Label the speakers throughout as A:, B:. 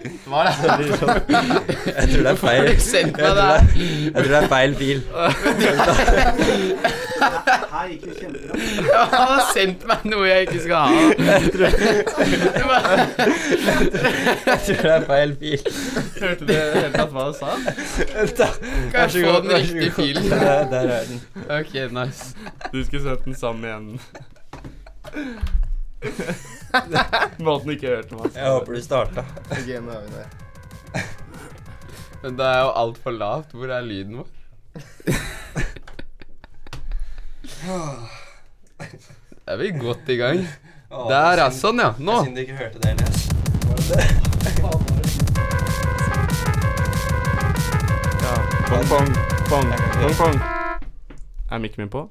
A: Hva er det?
B: Eller sånn.
C: Jeg tror det er feil.
D: Har du sendt
C: Jeg
D: meg
C: tror det er, jeg tror det er feil fil.
B: Her gikk det kjempebra.
D: Han har sendt meg noe jeg ikke skal ha. Du bare
C: Jeg tror det er feil fil.
A: Hørte du helt tatt hva du sa?
D: Kan jeg få den
C: vær så
D: riktige
C: god.
D: filen?
C: Der, der er den.
D: Ok, nice.
A: Du skulle sett den sammen igjen. Måten ikke hørte meg.
C: Jeg håper du starta.
E: Ok, nå er vi der.
D: Men det er jo altfor lavt. Hvor er lyden vår? Da er vi godt i gang. Der, ja. Sånn, ja. Nå.
C: Siden du ikke hørte det, Elias.
A: Pong, pong, pong, pong, pong. Er mikken min på?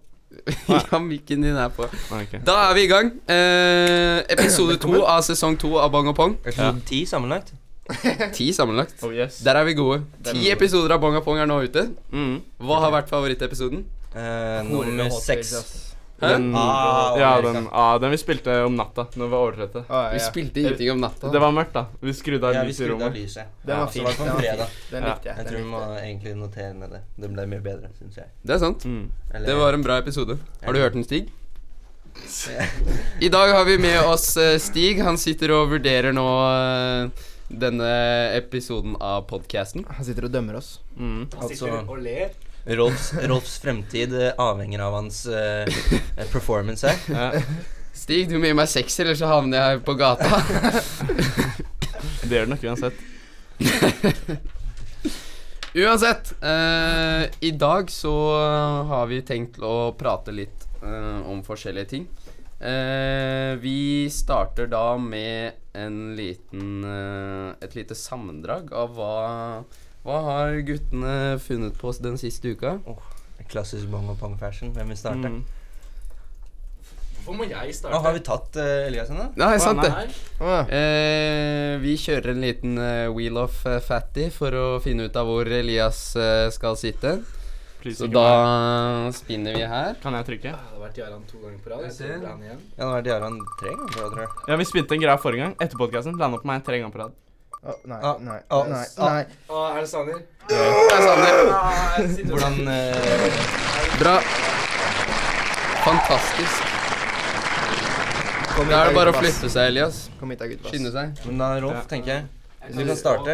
D: Ja, mikken din er på.
A: Nei, ok.
D: Da er vi i gang. Eh, episode to av sesong to av Bang og Pong.
C: Episode ti sammenlagt. Eh,
D: Ti sammenlagt.
A: Oh, yes.
D: Der er vi gode.
A: Der er vi
D: Ti
A: gode.
D: episoder av Bong og Pong er nå ute.
A: Mm.
D: Hva har vært favorittepisoden?
C: Eh,
E: Horer og
C: nummer
E: hot
D: altså.
C: seks.
E: takes, ass.
D: Hæ?
A: Den,
C: Ah,
A: ja,
C: Amerika.
A: den, ah, den vi spilte om natta når vi var
E: Å,
A: overtrette.
E: Ah, ja,
D: Vi
E: ja.
D: spilte ingenting om natta.
A: Det var mørkt, da. Vi skrudde av
C: Ja, vi
A: lyset i
C: skrudde av
A: rommet.
C: lyset.
E: Den
A: Ja,
E: var
C: så
E: fin.
C: var det på
E: Den, var
C: fredag.
E: fin. den
A: Ja,
E: likte jeg.
C: Jeg
E: Den
C: tror vi må
E: likte jeg.
C: egentlig notere ned det. Den ble mye bedre, syns jeg.
D: Det er sant.
A: Mm.
C: Eller-
D: Det var en bra episode. Har du hørt den, Stig? I dag har vi med oss eh, Stig. Han sitter og vurderer nå eh, denne episoden av podkasten.
E: Han sitter og dømmer oss.
A: Mm.
C: Altså,
B: og ler.
C: Rolfs, Rolfs fremtid eh, avhenger av hans eh, performance her.
A: Ja,
D: Stig, du må gi meg sekser, ellers så havner jeg på gata.
A: det gjør det nok uansett.
D: Uansett, eh, i dag så har vi tenkt å prate litt eh, om forskjellige ting. Eh, vi starter da med en liten, eh, et lite sammendrag av hva, hva har guttene funnet på den siste uka.
C: Klassisk bong og pong fashion. Hvem vil starte?
A: Mm.
B: Hvorfor må jeg
C: Nå har vi tatt eh, Elias ennå?
D: Nei, sant det.
B: Nei.
E: Å,
D: Eh, vi kjører en liten eh, wheel of eh, fatty for å finne ut av hvor Elias eh, skal sitte.
A: Please,
D: Så
A: ikke meg.
D: da spinner vi her.
A: Kan jeg trykke?
B: Jeg har vært i Aran to ganger på rad. Jeg
D: Skal vi se.
B: tror det er han igjen.
C: Ja, nå har vært i Aran tre ganger, tror jeg, tror jeg.
A: Ja, Vi spilte en greie forrige gang. Etter podkasten landa på meg tre ganger på rad.
E: nei,
C: Ah,
E: nei,
C: ah,
E: nei,
C: ah.
E: nei.
B: Å, er det Sanner?
D: Det er sånn, Sander.
C: Hvordan eh,
D: Bra. Fantastisk.
E: Kom hit
D: Da er det bare å
E: gutt, ass.
D: flytte seg, Elias.
E: Kom hit da, gutt,
D: Skynde
E: ass.
D: seg.
C: Men da, Rolf,
A: Ja.
C: tenker jeg. Du kan starte.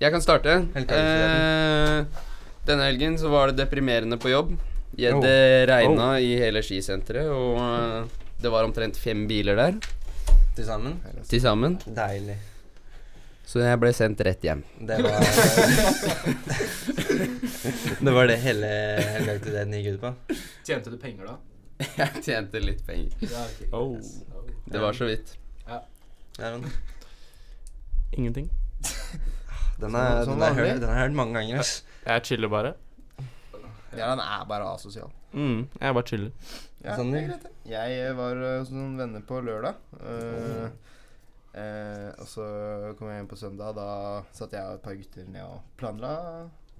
D: Jeg kan starte.
C: Helt
D: Eh, denne helgen så var det deprimerende på jobb. Jeg,
A: Oh.
D: det regna i hele skisenteret, og eh, det var omtrent fem biler der
C: Til sammen.
D: til sammen.
C: Deilig.
D: Så jeg ble sendt rett hjem.
C: Det var Det var det hele helgeaktiviteten gikk ut på.
B: Tjente du penger da?
D: Jeg tjente litt penger.
B: Ja, ok.
A: Oh.
B: Yes. Oh.
D: Det var så vidt.
C: Ja, men
A: Ingenting.
C: den
E: Som-
C: er,
E: som
C: den er, sånn hørt,
E: vanlig.
C: den er hørt mange ganger, ass.
A: Jeg chiller bare.
E: Ja, han er bare asosial.
A: Mm. Jeg bare chiller.
E: Ja,
C: Sander?
E: det er greit, det. Jeg eh, var eh, hos noen venner på lørdag. eh, eh, og så kom jeg hjem på søndag. Da satt jeg og et par gutter ned og planla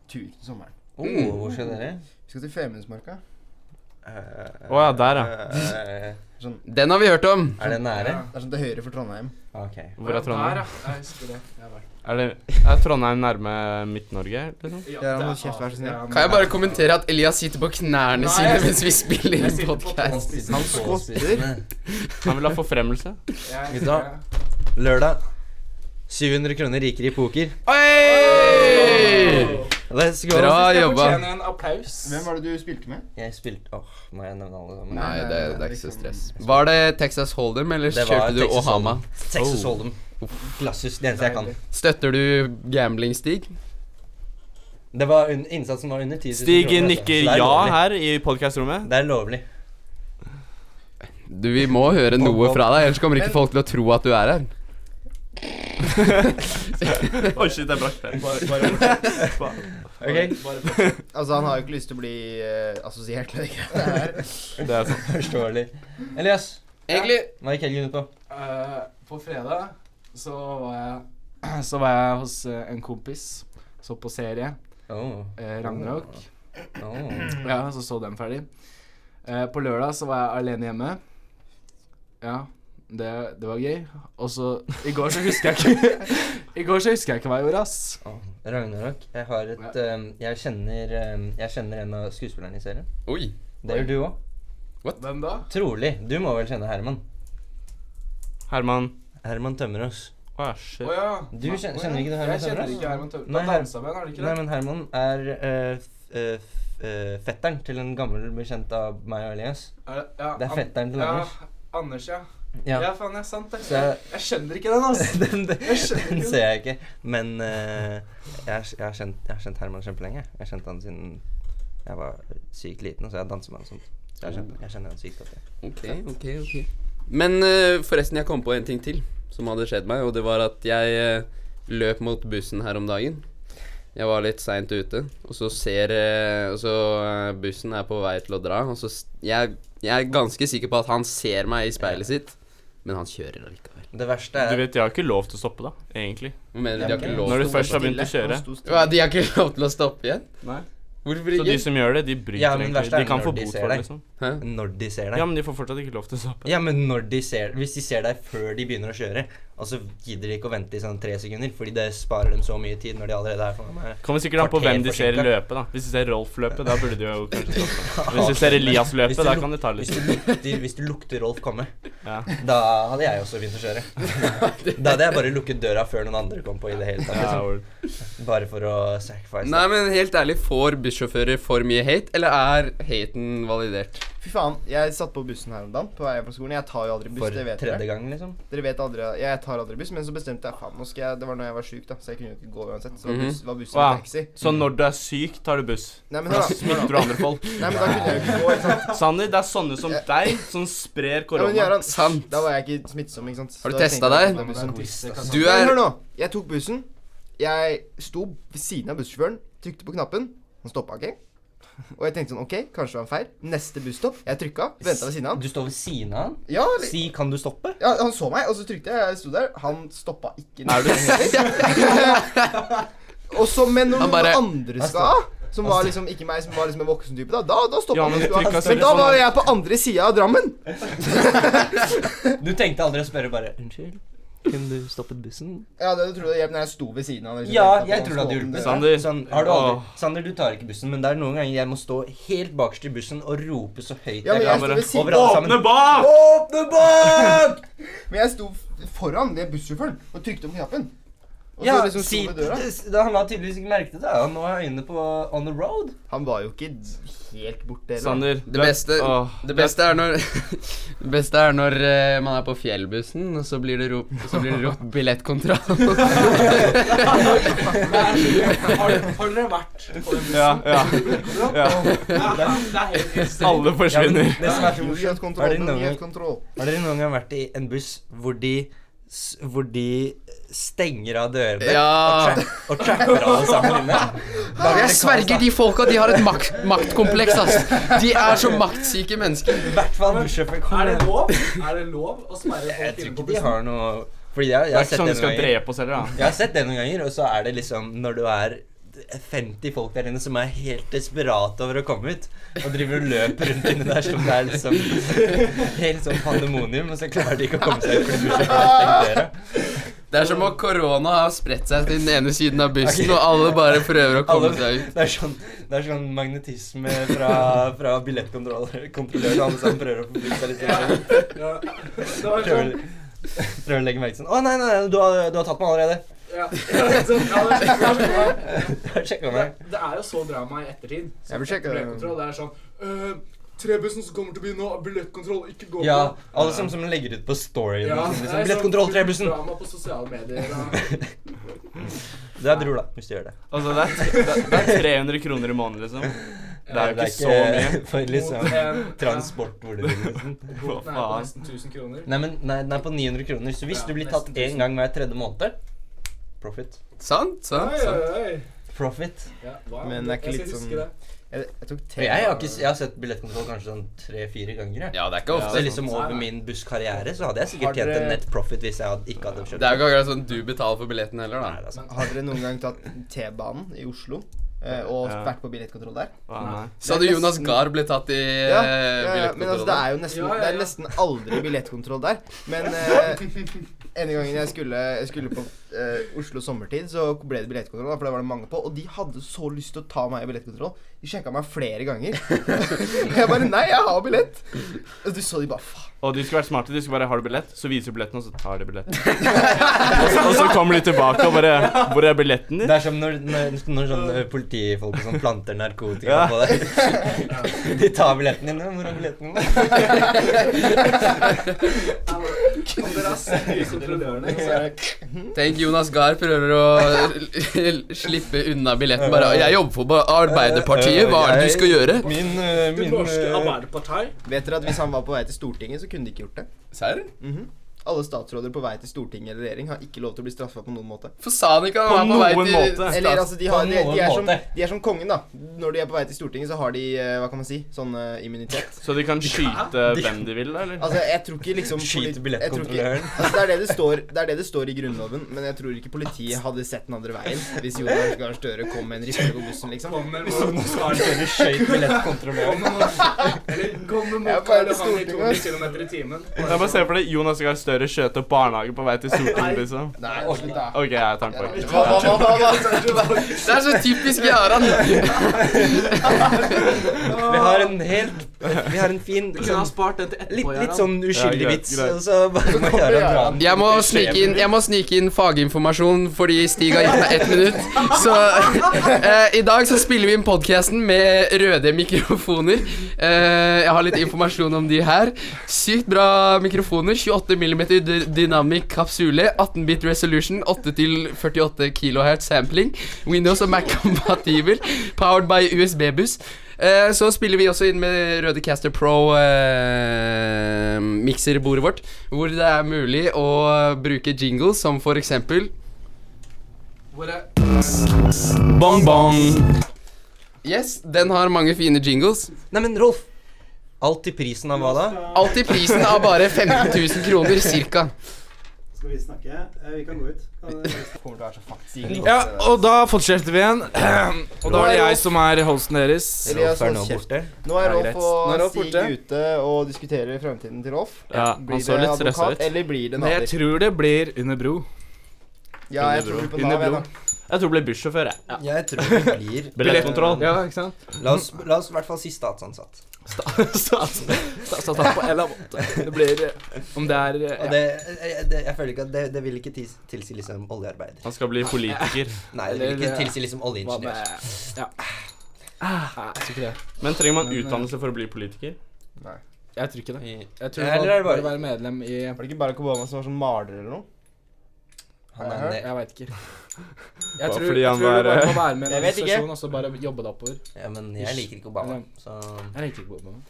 E: tur til sommeren.
C: Oh, hvor skal dere? Eh,
E: Vi skal til Femundsmarka.
C: Å
A: Å ja, der,
E: Sånn,
D: Den har vi hørt om.
C: eh, Er det nære?
E: det er sånn til høyre for Trondheim.
C: Ok.
A: Hvor er
B: Der,
A: Trondheim?
B: ja. Jeg husker det. Jeg har vært.
A: Er, det, er Trondheim nærme Midt-Norge? liksom?
B: Ja,
E: Jarand,
B: det
E: hold kjeft, vær så snill.
B: Jarand.
D: Kan jeg bare kommentere at Elias sitter på knærne
B: Nei,
D: sine
B: jeg-
D: mens vi spiller
B: jeg
D: inn
B: sitter på
D: podcast?
B: tåspissen.
E: Han skotter.
A: Han vil ha forfremmelse.
B: Jeg-
C: Gutta. Lørdag. 700 kroner rikere i poker.
D: Oi!
C: Let's go.
D: Bra
B: Jeg
D: jobba.
B: fortjener en applaus.
E: Hvem var det du spilte med?
C: Jeg spilte Åh, må jeg nevne alle sammen?
D: Nei,
E: Nei,
D: det,
E: nei,
D: det er ikke så
E: liksom-
D: stress. Var det Texas Hold'em, eller
C: Det var
D: kjørte du
C: Texas
D: Ohama?
C: Hold'em. Texas
A: Oh.
C: Hold'em. Klassisk. Det eneste jeg kan.
D: Støtter du gambling, Stig?
C: Det var un innsatsen var under 10 000
A: Stig
C: kroner, altså. Så
A: nikker
C: det er
A: ja
C: lovlig.
A: her i podkastrommet.
C: Det er lovlig.
D: Du, Vi må høre noe
C: Bob.
D: fra deg, ellers kommer ikke folk til å tro at du er her.
A: Oi, shit, jeg brakk det.
B: Bare, bare,
C: Ok,
B: bare,
E: Altså, han har jo ikke lyst til å bli eh, assosiert med det greiene her.
A: Det er sånn.
C: Forståelig. Elias,
D: Egentlig
C: hva gikk helgen ut på?
B: Eh, på fredag så var jeg Så var jeg hos eh, en kompis. Så på serie.
C: Oh.
B: eh, Ragnarok.
E: Mm.
C: Oh.
B: Ja, så så den ferdig. Eh, på lørdag så var jeg alene hjemme. Ja, det, det var gøy. Og så I går så husker jeg ikke I går så husker jeg ikke hva jeg gjorde, ass.
C: Å, Ragnarok, jeg har et eh, jeg, kjenner, eh, jeg kjenner en av skuespillerne i serien.
D: Oi.
C: Det gjør du òg.
B: Hvem da?
C: Trolig. Du må vel kjenne Herman.
A: Herman.
C: Herman Tømmerås.
A: Å ja, shit.
B: Å ja.
C: Du
B: Nei,
C: kjen-
B: å ja.
C: kjenner ikke du Herman
B: Jeg kjenner
C: Tømmerøs?
B: ikke Herman Tømmerøs.
C: Nei,
B: Han
C: her-
B: dansa med, er det ikke
C: Nei,
B: det?
C: men Herman er eh, f- eh, f- eh, fetteren til en gammel bekjent av meg og Elias.
B: Er det- ja,
C: Det er
B: An-
C: fetteren til
B: ja,
C: Anders.
B: Anders, ja. ja.
C: Ja.
B: faen, det er sant, det.
C: Så jeg,
B: Jeg skjønner ikke den, ass.
C: den, den,
B: Jeg skjønner
C: den
B: ikke.
C: ser jeg ikke. Men eh, jeg, har- jeg, har kjent, jeg har kjent Herman kjempelenge. Jeg har kjent han siden jeg var sykt liten, og så jeg danser med han og sånt. Så jeg, har kjent, jeg kjenner han sykt godt. jeg.
D: Ok, ok, ok. Men eh, forresten, jeg kom på en ting til som hadde skjedd meg, og det var at jeg eh, løp mot bussen her om dagen. Jeg var litt seint ute, og så ser eh, Og så eh, bussen er på vei til å dra, og så s- jeg, jeg er ganske sikker på at han ser meg i speilet sitt, men han kjører allikevel.
C: Det verste
A: Du
C: er
A: vet, jeg har ikke lov til å stoppe, da, egentlig.
D: Hva mener du, de har ikke lov til
A: Når du
D: å
A: først har
D: stoppe?
A: begynt å kjøre.
D: Hva, de har ikke lov til å stoppe igjen?
B: Nei.
D: Hvorfor
A: Så de
D: ikke?
A: som gjør det, de bryter
C: Ja, men verst er
A: egentlig. De kan
C: når
A: få
C: de
A: bot
C: ser
A: for det,
C: deg.
A: liksom.
D: Hæ?
C: når de ser deg.
A: Ja, men de får fortsatt ikke lov til å stoppe.
C: Ja, men når de ser, hvis de ser deg før de begynner å kjøre, og så gidder de ikke å vente i sånn tre sekunder, fordi det sparer dem så mye tid når de allerede er foran meg.
A: Kommer sikkert an på
C: Kvarter
A: hvem de ser
C: forsinket.
A: løpe, da. Hvis de ser Rolf løpe, da burde de jo kanskje stoppe. Hvis de ser Elias løpe,
C: Hvis du
A: da
C: luk-
A: kan det ta
C: Hvis
A: litt
C: du lukter, hvis du lukter Rolf komme,
A: Ja.
C: da hadde jeg også begynt å kjøre. Da hadde jeg bare lukket døra før noen andre kom på i det hele tatt.
A: Ja,
C: Liksom.
A: vel.
C: Bare for å sacrifice.
D: Nei, men helt ærlig, får bussjåfører for mye hate, eller er haten validert?
E: Fy faen, jeg satt på bussen her om dagen på vei hjem fra skolen. Jeg tar jo aldri buss,
C: for
E: det vet
C: tredje
E: dere.
C: gang, liksom.
E: Dere vet aldri, jeg tar aldri buss, men så bestemte jeg faen, nå skal jeg Det var når jeg var sjuk, da, så jeg kunne jo ikke gå uansett. Så var,
D: Mhm.
E: buss, var bussen
A: Wow.
E: en taxi.
A: Så når du er syk, tar du buss.
E: Nei, men
A: Da
E: da,
A: smitter du andre folk.
E: Nei, men da kunne jeg jo ikke gå, ikke sant.
A: Sanner, det er sånne som deg som sprer
E: Ja, men
A: korona.
E: Gøran,
D: Sant.
E: Da var jeg ikke smittsom, ikke sant. Så
D: Har du
E: da
D: testa
E: tenkte jeg
D: deg? altså.
E: at jeg tar bussen.
D: Du
E: Men
D: er
E: Hør nå. Jeg tok bussen. Jeg sto ved siden av bussjåføren, trykte på knappen. Han stoppa ikke. Og jeg tenkte sånn, ok, kanskje det var en feil. Neste busstopp. Jeg trykka, venta ved siden av han.
C: Du står ved siden av han.
E: Ja, eller-
C: Si 'kan du stoppe'?
E: ja, han så meg, og så trykte jeg. Jeg sto der. Han stoppa ikke.
A: Er du
E: Og så med noen
D: Han bare-
E: andre skal av, som var liksom ikke meg, som var liksom en voksen type, da, da, da stoppa
A: Ja,
E: han.
A: men
E: hvis du har-
A: trykk av
E: Men da
A: telefonen.
E: var jeg på andre sida av Drammen.
C: Du tenkte aldri å spørre bare 'unnskyld, kunne du stoppet bussen'?
E: Ja, det tror jeg hjelper når jeg sto ved siden av. liksom, tenkte
C: Ja,
E: at
C: jeg
E: han
C: tror det hadde
E: så
C: hjulpet.
E: åpen
A: Sant. Sander.
C: Sånn, har du aldri,
A: Åh.
C: Sander, du tar ikke bussen, men det er noen ganger jeg må stå helt bakerst i bussen og rope så høyt
E: Ja, men jeg
A: sto
C: kan.
E: ved siden-
C: Over alle sammen.
A: Åpne bak!
C: Åpne bak!
E: Men jeg sto f- foran ved bussjåføren og trykte på knappen. Og
C: Ja,
E: så liksom sto
C: si,
E: ved døra.
C: da, han la tydeligvis ikke merke til det. Han nå har øynene på On the Road.
E: Han var jo ikke helt borte heller.
A: Sander.
D: Det beste, det beste er når Det beste er når eh, man er på fjellbussen, og så blir det rop, så blir det ropt 'billettkontroll'.
B: Har, har dere vært på den bussen?
A: Ja, ja. ja.
B: Det er, det er helt ekstremt.
A: Alle forsvinner.
C: det som er så
E: Gjør et
C: morsomt
E: kontroll,
C: har dere,
E: men
C: noen
E: gjør et
C: gang,
E: kontroll.
C: har dere noen gang vært i en buss hvor de s- hvor de stenger av dørene
D: Ja.
C: og, tra og tracker alle sammen inne. Da blir
D: Jeg
C: det
D: sverger,
C: kaos,
D: de folka, de har et makt, maktkompleks, ass. De er så maktsyke mennesker.
C: da. I hvert fall bussjåfør. kom
B: Er det
C: igjen.
B: lov? Er det lov å sperre
C: Jeg
B: folk
C: tror
B: inne på
C: ikke de
B: bussen?
C: har noe Fordi jeg, jeg
A: Det er
C: har
A: ikke
C: sett
A: sånn
C: det
A: de
C: noen
A: skal
C: ganger.
A: drepe oss heller, da.
C: Jeg har sett det noen ganger, og så er det liksom når du er 50 folk der inne som er helt desperate over å komme ut, og driver og løper rundt inni der som det er liksom helt sånn pandemonium, og så klarer de ikke å komme seg ut fordi bussjåføren har stengt døra.
D: Det er som om korona har spredt seg til den ene siden av bussen, og alle bare prøver å komme
C: Alle-
D: seg ut.
C: Det er sånn, det er sånn magnetisme fra, fra billettkontrollører, kontrollører, alle sammen prøver å forflytte seg litt. sånn.
B: Ja. Det var sånn
C: Prøver, prøver å legge merke til sånn Å, nei, nei, nei, du har, du har tatt meg allerede.
B: Ja. Sånn, ja, det,
C: Du har sjekka
B: det,
C: meg.
B: det er jo så drama i ettertid. Sånn,
E: Jeg vil sjekke det.
B: billettkontroll, Det er sånn øh, Trebussen som kommer til byen nå, billettkontroll, ikke gå
C: Ja,
B: på.
C: alle som, som legger ut på storyen.
B: Ja, det er
C: Liksom,
B: sånn
C: Billettkontroll, trebussen.
B: Drama på sosiale medier. og-
C: Du er bror, da, hvis du gjør det.
A: Altså, det er, det er- det er 300 kroner i måneden, liksom. Det er jo ikke så mye.
C: for liksom
B: Mot en-
C: transport hvor du vil. liksom.
A: Hva
B: Boten er på
A: faen?
B: nesten 1000 kroner.
C: Nei, men nei, den er på 900 kroner, så hvis
B: Ja,
C: du blir tatt
B: nesten 1000.
C: én gang hver tredje måned Profit.
D: Sant, sant,
B: Oi,
D: sant.
B: oi, oi.
C: Profit.
B: Ja, hva?
E: Men det er ikke
B: Jeg skal
E: litt
B: huske
E: sånn-
B: det.
E: Jeg, jeg tok
C: Og jeg har, ikke, s- jeg har sett billettkontroll kanskje sånn tre-fire ganger. jeg.
D: Ja, det er ikke
C: Så
D: ofte.
C: liksom over min busskarriere så hadde jeg
E: Har
C: sikkert tjent
E: dere-
C: en net profit hvis jeg hadde, ikke hadde kjøpt. altså.
D: Det er jo ikke akkurat sånn du betaler for billetten heller,
C: Nei,
D: da.
C: det er sant.
E: Har dere noen gang tatt T-banen i Oslo eh, og
A: Ja.
E: vært på billettkontroll der?
A: Hva, nei.
D: Sa du Jonas Gahr ble tatt i
E: Ja,
D: eh,
E: ja, ja, men altså, det er
D: billettkontrollen?
E: jo nesten,
B: Ja, ja,
E: Det er
B: ja.
E: nesten aldri billettkontroll der. Men eh, ene gangen jeg skulle, jeg skulle på eh, Oslo sommertid, så ble det billettkontroll. da, For det var det mange på. Og de hadde så lyst til å ta meg i billettkontroll. De sjekka meg flere ganger. jeg bare Nei, jeg har billett. Og du så de bare Faen.
A: Og de skulle vært smarte. De skulle bare Har du billett? Så viser du billetten, og så tar de billetten. og, så, og så kommer de tilbake og bare Hvor er billetten din?
C: Det er som når, når, når sånne politifolk og sånn planter narkotika
A: Ja.
C: på deg. De tar billetten din. ja, 'Hvor er billetten din?'
B: Om dere har sett kontrollørene, så er det
D: Tenk Jonas Gahr prøver å slippe unna billetten. Bare 'Jeg jobber for Bar- Arbeiderpartiet, hva er det du skal gjøre?'
C: Min, eh,
F: Det
C: min
F: norske
C: eh,
F: Arbeiderparti.
E: Vet dere at hvis han var på vei til Stortinget, så kunne de ikke gjort det?
D: Serr?
E: Mhm. Alle statsråder på vei til Stortinget eller regjering har ikke lov til å bli straffa på noen måte.
D: For sa han ikke
A: På
D: han var på
A: noen
D: vei
A: måte.
D: til
E: Eller altså, de, har,
C: På
E: de, de, er
C: noen
E: som,
C: måte.
E: de er som kongen, da. Når de er på vei til Stortinget, så har de eh, hva kan man si, sånn eh, immunitet.
A: Så de kan skyte
C: de-
A: hvem de vil, da, eller?
E: Altså, jeg tror ikke liksom
C: Skyter
E: polit- jeg tror ikke-
C: billettkontrolløren.
E: Altså, det, er det, det, står, det er det det står i Grunnloven, men jeg tror ikke politiet hadde sett den andre veien hvis Jonas Gahr Støre kom med en rifle på bussen, liksom.
B: kommer mot Karl
C: Dere skjøt billettkontrolløren.
B: Kommer mot- Eller kommer
E: Jeg er bare
B: mot Karl Johan i
E: Stortinget.
B: 200 km i timen.
A: Jeg bare ser for deg Jonas Gahr Støre skjøt opp barnehage på vei til Stortinget, liksom.
E: Nei, slutt, da.
A: OK, jeg tar den på.
E: Hva, hva, hva, hva, hva?
D: Det er så typisk Jaran.
C: Vi har en helt Vi har en fin
B: Du kunne ha
C: sånn,
B: spart den til etterpå.
C: litt, litt
B: Göran.
C: sånn
A: Ja,
C: uskyldig
A: greit,
C: vits,
A: greit.
C: og så bare må jeg gjøre en
D: Jeg må snike inn, jeg må snike inn faginformasjon fordi Stig har gitt meg ett minutt. Så eh, i dag så spiller vi inn podkasten med røde mikrofoner. Eh, jeg har litt informasjon om de her. Sykt bra mikrofoner. 28 mm dynamic kapsule. 18-bit resolution. 8-48 kilohertz sampling. Windows og Mac compatible. Powered by USB-buss. Eh, Så spiller vi også inn med Røde Caster Pro eh, mikserbordet vårt, hvor det er mulig å bruke jingles som for eksempel
B: Hvor er
A: Bong bong.
D: Yes, den har mange fine jingles.
C: Nei, men Rolf. Alt til prisen av hva da?
D: Alt i prisen av bare 15 000 kroner, cirka.
F: Skal vi snakke? Eh, Vi kan gå ut. Kan-
E: Kommer til å være så faktisk
B: Ja, og da fortsetter vi igjen. Og da er det jeg som er hosten deres.
E: Elias,
C: Rolf er nå
E: hold kjeft.
C: borte.
E: Nå er
A: Ja, greit.
E: Rolf
B: Nå er
E: og
B: Rolf
E: Stig
B: borte.
E: ute og diskuterer fremtiden til Rolf.
A: Ja, han så litt stressa ut.
E: eller blir det
B: Men jeg
E: nader?
B: tror det blir under bro.
E: Ja, jeg tror du på
A: Under
E: Nav, jeg,
A: bro.
E: da.
A: Jeg tror det blir bussjåfør, jeg.
C: Jeg tror det blir
A: Billettkontroll.
B: Ja, ikke sant?
C: La oss, la oss i hvert fall si statsansatt.
B: Stats- Statsansatt på en eller annen måte. Det blir eh, Om det er eh,
C: Og det, jeg, det, jeg føler ikke at det, det vil ikke tis- tilsi liksom oljearbeider.
A: Han skal bli politiker.
C: Nei, det vil
B: Eller,
C: ikke tilsi liksom
B: ja, hva med
C: oljeingeniør.
B: Ja. Ah, jeg tror ikke det.
A: Men trenger man utdannelse for å bli politiker?
B: Jeg tror ikke det.
C: I-
B: Jeg tror
C: Ja, eller
B: man
C: er det
B: bare
C: bare-
B: å være medlem i
E: Var det ikke Barack Obama som var sånn maler eller noe?
C: Han er
B: Jeg
C: ned.
B: veit ikke. Jeg
A: Bare
B: tror,
A: fordi
B: jeg
A: han
B: tror
A: var,
B: du bare må være med i en
E: Jeg vet ikke.
B: organisasjon og så bare jobbe deg oppover.
C: Ja, men jeg liker ikke Obama, så
B: Jeg liker ikke Obama.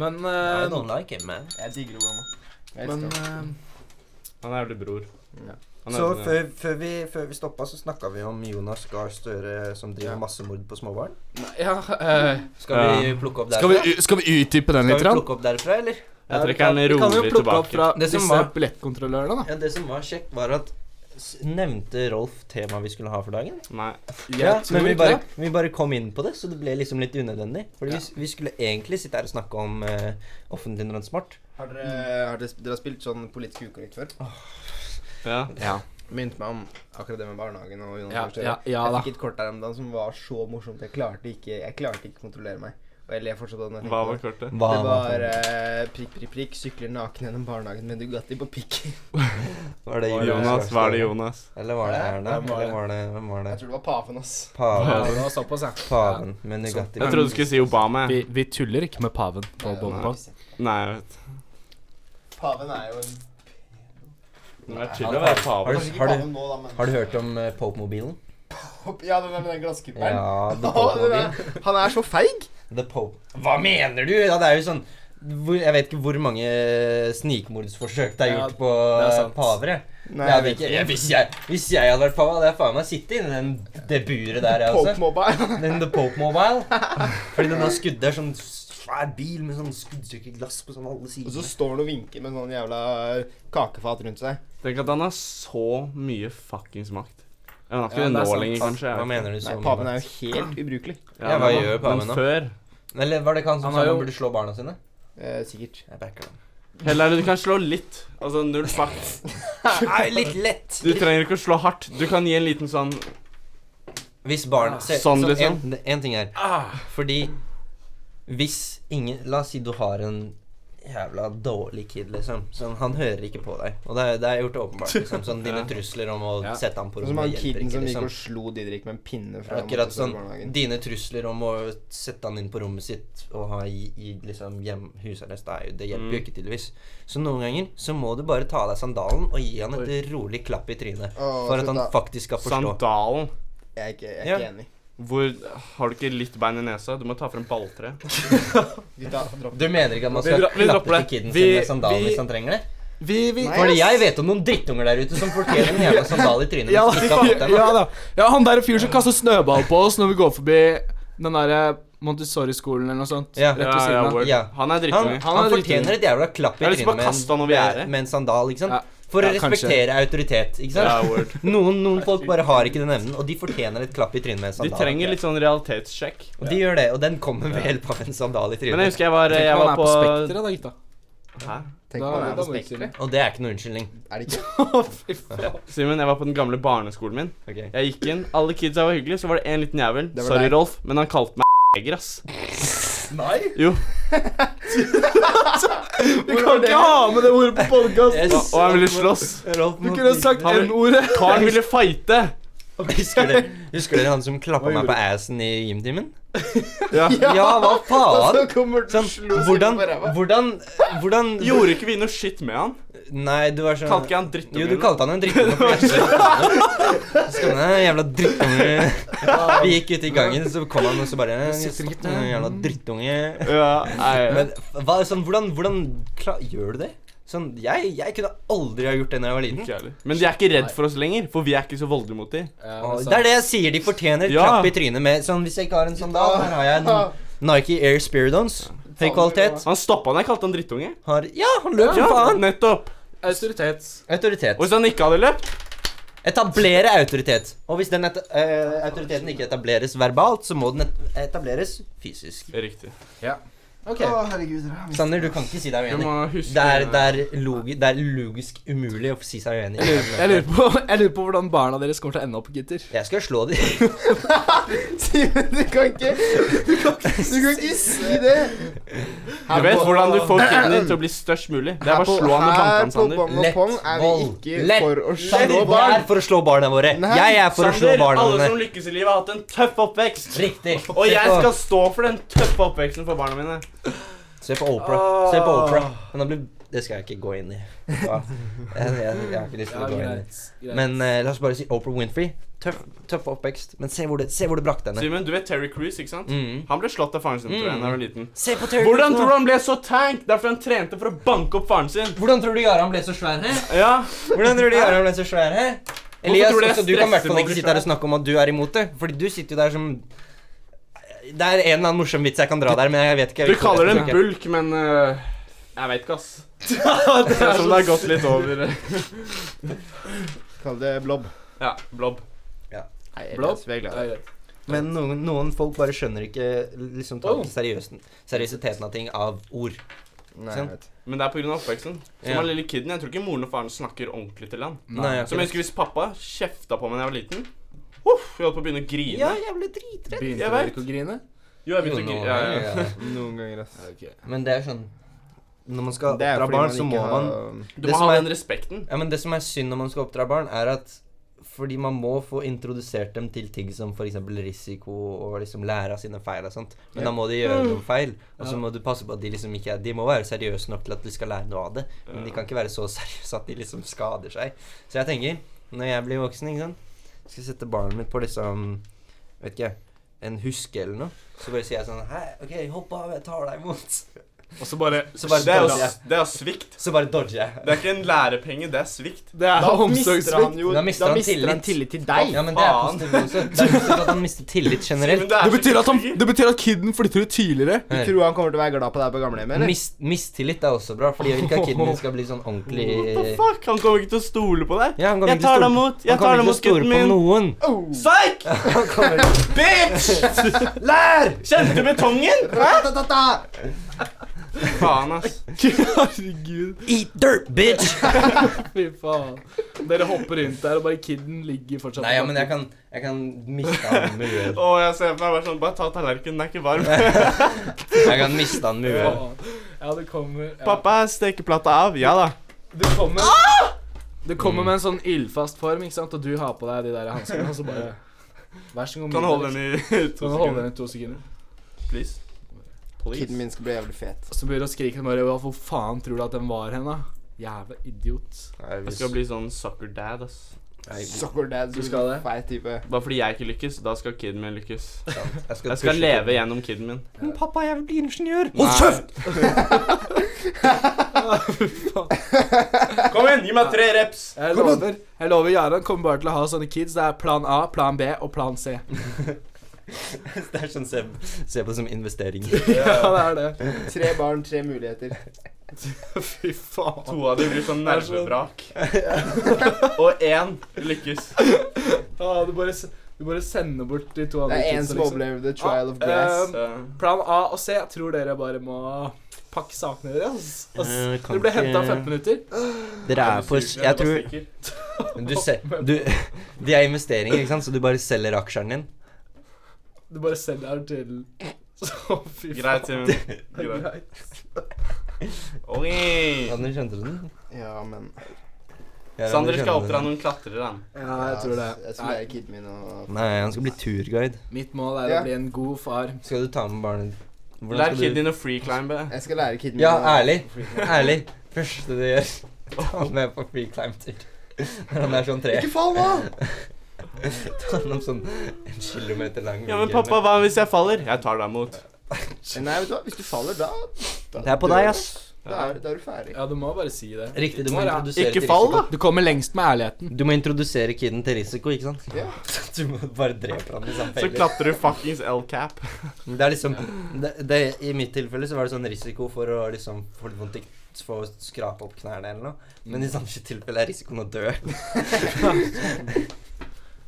B: Men
C: I
B: eh,
C: don't like him, man.
E: Jeg digger Obama. Jeg elsker
B: Men
E: ham.
B: eh,
A: Han er jævlig bror.
E: Ja.
A: Han er
C: Så
A: sånn, ja.
C: før, før vi, før vi stoppa, så snakka vi om Jonas Gahr Støre som driver massemord på småbarn.
B: nei, Ja eh,
C: Skal vi plukke opp derfra?
B: skal, vi, skal vi utdype den litt?
C: Skal vi
B: grann?
C: plukke opp derfra, eller?
A: Jeg trekker den
B: Vi kan jo
A: rolig
B: plukke opp
A: tilbake.
B: fra
C: Det som
B: disse
C: var-
B: billettkontrollørene, da.
C: Ja, Det som var kjekt, var at s- Nevnte Rolf temaet vi skulle ha for dagen?
A: Nei.
C: Ja,
B: tror
C: men vi
B: ikke
C: bare,
B: det.
C: vi bare kom inn på det, så det ble liksom litt unødvendig. Fordi vi, s- vi skulle egentlig sitte her og snakke om eh, offentlig transport.
E: Har dere, har dere, dere har spilt sånn politisk ukorrekt før?
A: Ja.
B: Ja,
E: Begynte meg om akkurat det med barnehagen og Jonas
B: ja,
E: Gahr Støre.
B: ja, ja
E: jeg
B: da.
E: fikk et kort der om dagen som var så morsomt. Jeg klarte ikke jeg klarte ikke kontrollere meg. Og jeg ler fortsatt av den. jeg tenker
A: Hva var
E: på det.
A: kortet?
C: Hva
E: det
C: var,
E: var eh, prikk, prikk, prikk, sykler naken gjennom barnehagen med Dugatti på pikken.
C: var det
A: Jonas, hva er det Jonas?
C: Eller var det Erna?
E: Hvem var det?
C: Eller var det, hvem var det?
E: Jeg tror det var paven, ass.
B: Ja,
C: Paven.
B: det var såpass, ja.
C: Paven med Nugatti.
A: Jeg trodde du skulle si Obama.
B: Vi,
A: jeg.
B: vi tuller ikke med paven på
E: Nei,
B: Bobo.
E: nei.
A: Nei, jeg vet
E: Paven er jo en
A: Det er chill å være
C: Har
A: pave.
C: du,
E: Kanskje ikke
C: har du,
E: paven nå, da, men
C: har du hørt om eh, Pope-mobilen?
E: Ja, den der med den glasskuppelen.
C: Ja, The
E: Å, den
C: Pope-mobil.
E: er- han er så feig!
C: The Pope. Hva mener du?! Ja, det er jo sånn hvor, Jeg vet ikke hvor mange snikmordsforsøk det er
B: Ja,
C: gjort på
B: det er
C: eh,
B: sant.
C: paver. jeg.
E: Nei,
C: jeg vet ikke, jeg, hvis, jeg, hvis jeg hadde vært pave, hadde jeg faen meg sittet inni den det buret der, jeg også.
E: Pope-mobba.
C: Den The Pope Mobile. Fordi den har skudd der sånn svær bil med sånn skuddsikker glass på sånn alle
E: Og så
C: sider.
E: står han og vinker med sånn jævla kakefat rundt seg.
A: Tenk at han har så mye fuckings makt. Jeg har ikke
B: Ja,
A: det
B: det er
A: nå
B: sant.
A: lenger, kanskje. jeg
C: Hva
A: vet
C: mener du
E: Nei,
C: så
E: paven
C: mye?
E: er jo helt ubrukelig.
A: ikke.
C: Ja, hva
A: men-
C: gjør paven
A: men
C: da?
A: Før
C: Eller var det ikke han som
B: Han har
C: sa
B: jo-
C: han burde slå barna sine?
E: Eh, sikkert.
C: Jeg backer den.
A: Heller du kan slå litt. Altså null fart.
C: Nei, litt lett.
A: Du trenger ikke å slå hardt. Du kan gi en liten sånn
C: Hvis
E: Ah,
C: barn se,
A: Sånn,
C: så
A: liksom.
C: en, en ting er Fordi hvis ingen La oss si du har en jævla dårlig kid, liksom. Sånn, han hører ikke på deg. Og det er, det er gjort åpenbart. Liksom, sånn dine
A: Ja.
C: trusler om å
A: Ja.
C: sette ham på
E: Sånn Som han
C: rommet hjelper
E: kiden
C: ikke.
E: som gikk
C: Liksom.
E: og slo Didrik med en pinne fra
C: Akkurat sånn.
E: Montessori-barnehagen.
C: Dine trusler om å sette han inn på rommet sitt og ha i, i liksom hjem, husarrest, det, er jo, det hjelper jo
A: Mm.
C: ikke tydeligvis. Så noen ganger så må du bare ta av deg sandalen og gi han et rolig klapp i trynet.
E: Åh,
C: For at han
E: slutt da.
C: faktisk skal forstå.
A: Sandalen.
E: Jeg er ikke, jeg er ikke
C: Ja.
E: enig.
A: Hvor Har du ikke litt bein i nesa? Du må ta frem balltre.
E: Gutta, dropp
C: Du mener ikke at man
A: Vi
C: skal
A: dra- vi dropper
C: klappe til
A: det.
C: kiden
A: Vi-
C: sin med sandalen
A: vi-
C: hvis han trenger det?
A: Vi, vi
E: Nei,
C: Fordi
E: ass.
C: jeg vet om noen drittunger der ute som fortjener en jævla sandal i trynet.
B: Ja,
C: hvis de ikke har fått den, da.
B: ja da. Ja, han der er fyr som kaster snøball på oss når vi går forbi den derre Montessori-skolen eller noe sånt.
C: Ja.
A: ja,
B: Rett ved
A: ja,
B: siden av.
A: word.
C: Ja.
A: Han er
C: Han,
A: drittunge.
C: han,
B: Han er
C: fortjener et jævla klapp
A: Jeg
C: i
A: har lyst til å
C: trynet
A: bare
C: med
A: kaste han
C: en,
A: over gjerdet.
C: med en sandal, ikke sant?
B: Ja.
C: For å
B: Ja, kanskje.
C: respektere autoritet, ikke sant?
A: Ja, word.
C: Noen, noen folk bare har ikke den evnen, og de fortjener et klapp i trynet med en
A: De
C: sandal.
A: trenger litt sånn realitetssjekk.
C: Og de gjør det, og den kommer ved hjelp av en sandal i
A: Men jeg
C: trynet.
A: husker jeg var,
B: Tenk
A: jeg
B: om han
A: var
B: er
A: på
B: på Spekteret, da, gutta.
A: Hæ?
E: Tenk
B: Da-
E: på det
B: da
E: er på
B: må vi si
E: spekteret.
C: Og det er ikke noen unnskyldning.
E: Er det ikke?
B: Fy faen.
A: Simen, jeg var på den gamle barneskolen min.
C: Ok.
A: Jeg gikk inn, alle kidsa var hyggelige, så var det en liten jævel.
E: Det var
A: Sorry,
E: deg.
A: Rolf, men han kalte meg eger, ass.
E: Nei?
A: Jo.
E: Vi kan ikke ha med det ordet på podkast.
A: Og, og han ville slåss.
C: Rolf,
E: Du kunne sagt
A: Han-
E: N-ordet.
A: Karen ville fighte.
C: Husker dere, husker dere han som klappa
E: Hva
C: meg
E: gjorde
C: på assen i gymtimen?
A: Ja.
C: Ja, hva
E: Og så
C: faen?
E: kommer du
C: Sånn,
E: slo
C: hvordan,
E: på ræva.
C: hvordan, hvordan
A: Gjorde ikke vi noe shit med han?
C: Nei, du var sånn
A: Kalte ikke han drittunge?
C: Jo, du
A: eller noe?
C: kalte han en drittunge. for jeg Skal du ha, jævla drittunge. Vi gikk ut i gangen, så kom han og så bare Jævla drittunge.
A: Ja, nei.
C: Men hva, sånn, hvordan, hvordan kla- gjør du det? Sånn, jeg, jeg kunne aldri ha gjort det da jeg var liten.
A: Ikke jeg heller. Men de er ikke redd for oss lenger, for vi er ikke så voldelige mot de.
C: Og Det er det jeg sier. De fortjener et
A: altså. Ja.
C: klapp i trynet med sånn Hvis jeg ikke har en sandal, her har jeg en Nike Air Spiridons. Høy kvalitet.
A: Han stoppa når jeg kalte han drittunge.
C: Har Ja, han løp som faen.
A: nettopp.
B: Autoritet.
C: Autoritet.
A: Og hvis han ikke hadde løpt
C: Etablere autoritet. Og hvis den et eh, autoriteten ikke etableres verbalt, så må den et etableres fysisk.
A: Riktig.
C: Ok.
E: Å, herregud. dere har-
C: Sander, du kan ikke si deg
A: Du
C: uenig.
A: må huske
C: Det er, det, er logi det er logisk umulig å si seg uenig.
B: Jeg lurer, på, jeg lurer på hvordan barna deres kommer til å ende opp, gutter.
C: Jeg skal slå de
E: Simen, du kan ikke Du kan, du kan ikke si det.
A: Du vet hvordan du får kiden din til å bli størst mulig. Det er bare å slå han med
E: Her
A: plankene,
E: på
A: Sander.
E: Bong og
C: Lett
E: Pong er vi
C: vold.
E: ikke
C: Lett.
E: for å
C: Sander,
E: slå
C: du er
E: barn.
C: for å slå barna våre.
E: Nei.
C: Jeg er for å slå
A: Sander,
C: barna
A: alle som
C: dine.
A: lykkes i livet, har hatt en tøff oppvekst.
C: Riktig.
A: Og
C: Se
A: jeg
C: på-
A: skal stå for den tøffe oppveksten for barna mine.
C: Se på Oprah. Se på Oprah.
E: Ah.
C: Men da blir Det skal jeg ikke gå inn i. Ja. Jeg, jeg, jeg har ikke lyst til å gå inn i det. Men eh, la oss bare si Oprah Winfrey. Tøff, tøff oppvekst. Men se hvor det, se hvor det brakte henne.
A: Simen, du vet Terry Cruise, ikke sant?
C: Mm.
A: Han ble slått av faren sin, tror jeg, da han var liten.
C: Se på Terry
A: Hvordan
C: Crews nå.
A: tror du han ble så tank? Derfor han trente for å banke opp faren sin.
C: Hvordan tror du Jaran ble så svær her?
A: Ja,
C: Hvordan tror du Jaran ble så svær her? Elias,
A: tror du jeg
C: også, du kan i hvert
A: stresser
C: fall
A: når
C: ikke
A: du
C: sitte her og
A: skjønner?
C: snakke om at du er imot det. Fordi du sitter jo der som Det er en eller annen morsom vits jeg kan dra der, men jeg vet ikke.
A: Du kaller det en bulk, men øh, Jeg vet ikke, ass. Det er som det har gått litt over.
E: Kall det blob.
A: Ja, blob.
E: Nei, jeg
B: Blob?
E: vet, vi er glad i det.
C: Men noen, noen folk bare skjønner ikke
A: Oh.
C: liksom tar ikke seriøsen, seriøsiteten av ting av ord.
E: Nei, jeg
C: Sant.
E: vet.
A: Men det er pga. oppveksten. Som
C: Ja.
A: han lille kiden, Jeg tror ikke moren og faren snakker ordentlig til han.
C: Nei, jeg
A: Som jeg husker hvis pappa kjefta på meg da jeg var liten. Uff, jeg holdt på å begynne å grine.
C: Ja, jeg ble dritredd.
A: Jeg
B: Begynte
A: vet.
B: dere ikke å grine?
A: Jo, jeg begynte å grine. Ja, ja.
E: Noen ganger, ass.
C: Men det er sånn Når man skal
E: Det er fordi
C: oppdra barn,
E: man
C: så
E: ikke
C: må
E: har um,
C: man
A: Du
C: Det
A: må
C: som
A: ha
C: er-
A: den respekten.
C: Ja, men Det som er synd når man skal oppdra barn, er at fordi man må få introdusert dem til ting som f.eks. risiko, og liksom lære av sine feil og sånt. Men da må de gjøre noen feil, og så må du passe på at de liksom ikke er De må være seriøse nok til at de skal lære noe av det, men de kan ikke være så seriøse at de liksom skader seg. Så jeg tenker, når jeg blir voksen, ikke sant Skal jeg sette barnet mitt på liksom Vet ikke, en huske eller noe, så bare sier jeg sånn Hei, OK, hopp av, jeg tar deg imot.
B: Og så bare
C: Så bare
A: Det er jo
C: dodger jeg.
A: s- det er jo svikt.
C: Så bare dodger jeg.
A: Det er ikke en lærepenge, det er svikt.
B: Det er omsorgssvikt.
E: jo
C: Da mister han tillit.
E: til
C: Ja, men det er
A: faen.
C: positivt også. Det er positivt at han mister tillit generelt.
A: Men det er
B: Det
A: så
B: betyr, at han,
A: trigger.
B: det betyr at kiden flytter ut tidligere.
E: Du tror han kommer til å være glad på deg på gamlehjemmet, eller?
C: Mis, mistillit er også bra, fordi jeg vil ikke at kiden min skal bli sånn ordentlig
A: What the fuck? Han kommer ikke til å stole på deg.
C: Ja, han kommer
A: Jeg
C: ikke til å
A: tar deg
C: stole-
A: imot.
C: han
A: Jeg
C: kommer
A: tar
C: ikke til å
A: deg imot, gutten
C: stole
E: Oh.
C: på noen.
A: min. Psyk!
C: Han kommer
A: Bitch! Lær! Kjente betongen?
E: Ta-ta-ta-ta!
A: Faen, ass.
B: Herregud.
C: Eat dirt, bitch!
B: Fy faen. Dere hopper rundt der, og bare kiden ligger fortsatt
C: Nei, ja, men jeg kan, jeg kan miste han med
A: Å,
C: huet.
A: jeg ser på meg bare sånn Bare ta tallerkenen, den er ikke varm.
C: Jeg kan miste han med huet.
B: Faen. Ja, det kommer ja.
A: Pappa, Ah! stekeplata av. Ja da.
B: Du kommer Du kommer med en sånn ildfast form, ikke sant, og du har på deg de der hanskene, og så bare Vær så god.
A: Kan du holde
B: Mikael.
A: den i to
B: Kan du holde
A: sekunder?
B: den i to sekunder?
A: Please. Please.
E: Kiden min skal bli jævlig fet.
B: Og så begynner du å skrike bare Hva for faen tror du at den var hen, da? Jævla idiot.
A: Jeg skal bli sånn sucker dad, ass.
E: Sucker dad,
B: Du skal det?
E: feit type.
A: Bare fordi jeg ikke lykkes, da skal kiden min lykkes.
C: Jeg skal,
A: Jeg skal
C: pushe
A: leve
C: kiden.
A: gjennom kiden min.
C: Men pappa, jeg vil bli ingeniør.
A: Nei.
C: Hold kjeft!
A: Kom igjen, gi meg tre reps.
B: Jeg lover, jeg lover Jaran kommer bare til å ha sånne kids. Det er plan A, plan B og plan C.
C: Det er sånn se, se på som investering.
A: Eh,
B: Ja, det er det.
E: Tre barn, tre muligheter.
B: Fy faen.
A: To av dem blir sånn
B: Det er sånn-
A: nervevrak. Og én lykkes.
B: Ah, du, bare, s- du bare sender bort de to
E: Det
B: andre liksom.
E: er én som overlever the trial of
B: Um,
E: grass.
A: Så,
B: Plan A og C. Jeg tror dere bare må pakke sakene deres. ass. Ass.
C: Eh, kan
B: Du ble henta
C: ikke-
B: om 15 minutter.
C: Dere er på Jeg
A: suger, bare
C: tror
A: stikker.
C: du se, du, De er investeringer, ikke sant, så du bare selger aksjene din.
B: Du bare sender den til Så fy faen.
A: Greit, Simen. Greit.
B: Greit.
A: Oi.
C: Anders, skjønte du den?
E: Ja, men
C: Ja,
A: Sander
C: Anders
A: skal
C: skjønte
A: oppdra
C: den.
A: noen klatrere. han.
B: Ja, jeg tror det.
E: Jeg skal
B: Nei,
E: lære kiden min å
C: Nei, han skal bli turguide.
B: mitt mål er
E: Ja.
B: å bli en god far.
C: Skal du ta med barnet Hvordan
A: Lær
C: skal
A: kiden
C: du-
A: din å freeclimbe.
E: Jeg skal lære kiden min
C: Ja,
E: å-
C: ærlig. Ærlig. Første du gjør, ta han med på free climb-tur. Når han er sånn tre.
E: Ikke fall nå!
C: Ta han om sånn en kilometer lang
A: Ja, men
C: vegg
A: pappa,
C: hjemme.
A: hva hvis jeg faller? Jeg tar deg imot.
E: Nei, vet du hva, hvis du faller, da, da
C: Det er på
E: dør
C: deg,
E: du.
C: ass.
E: Da er, da er du ferdig.
B: Ja, du må bare si det.
C: Riktig, du må
B: Bare-
C: introdusere
A: Ikke
C: til
A: fall,
C: risiko.
A: da.
B: Du kommer lengst med ærligheten.
C: Du må introdusere kiden til risiko, ikke sant?
E: Ja.
C: Du må bare drepe han i samme
A: Så
C: felle.
A: klatrer du fuckings L-cap.
C: Det er liksom det, det, I mitt tilfelle så var det sånn risiko for å liksom få litt vondt i få skrape opp knærne eller noe. Men i samme tilfelle er risikoen å dø.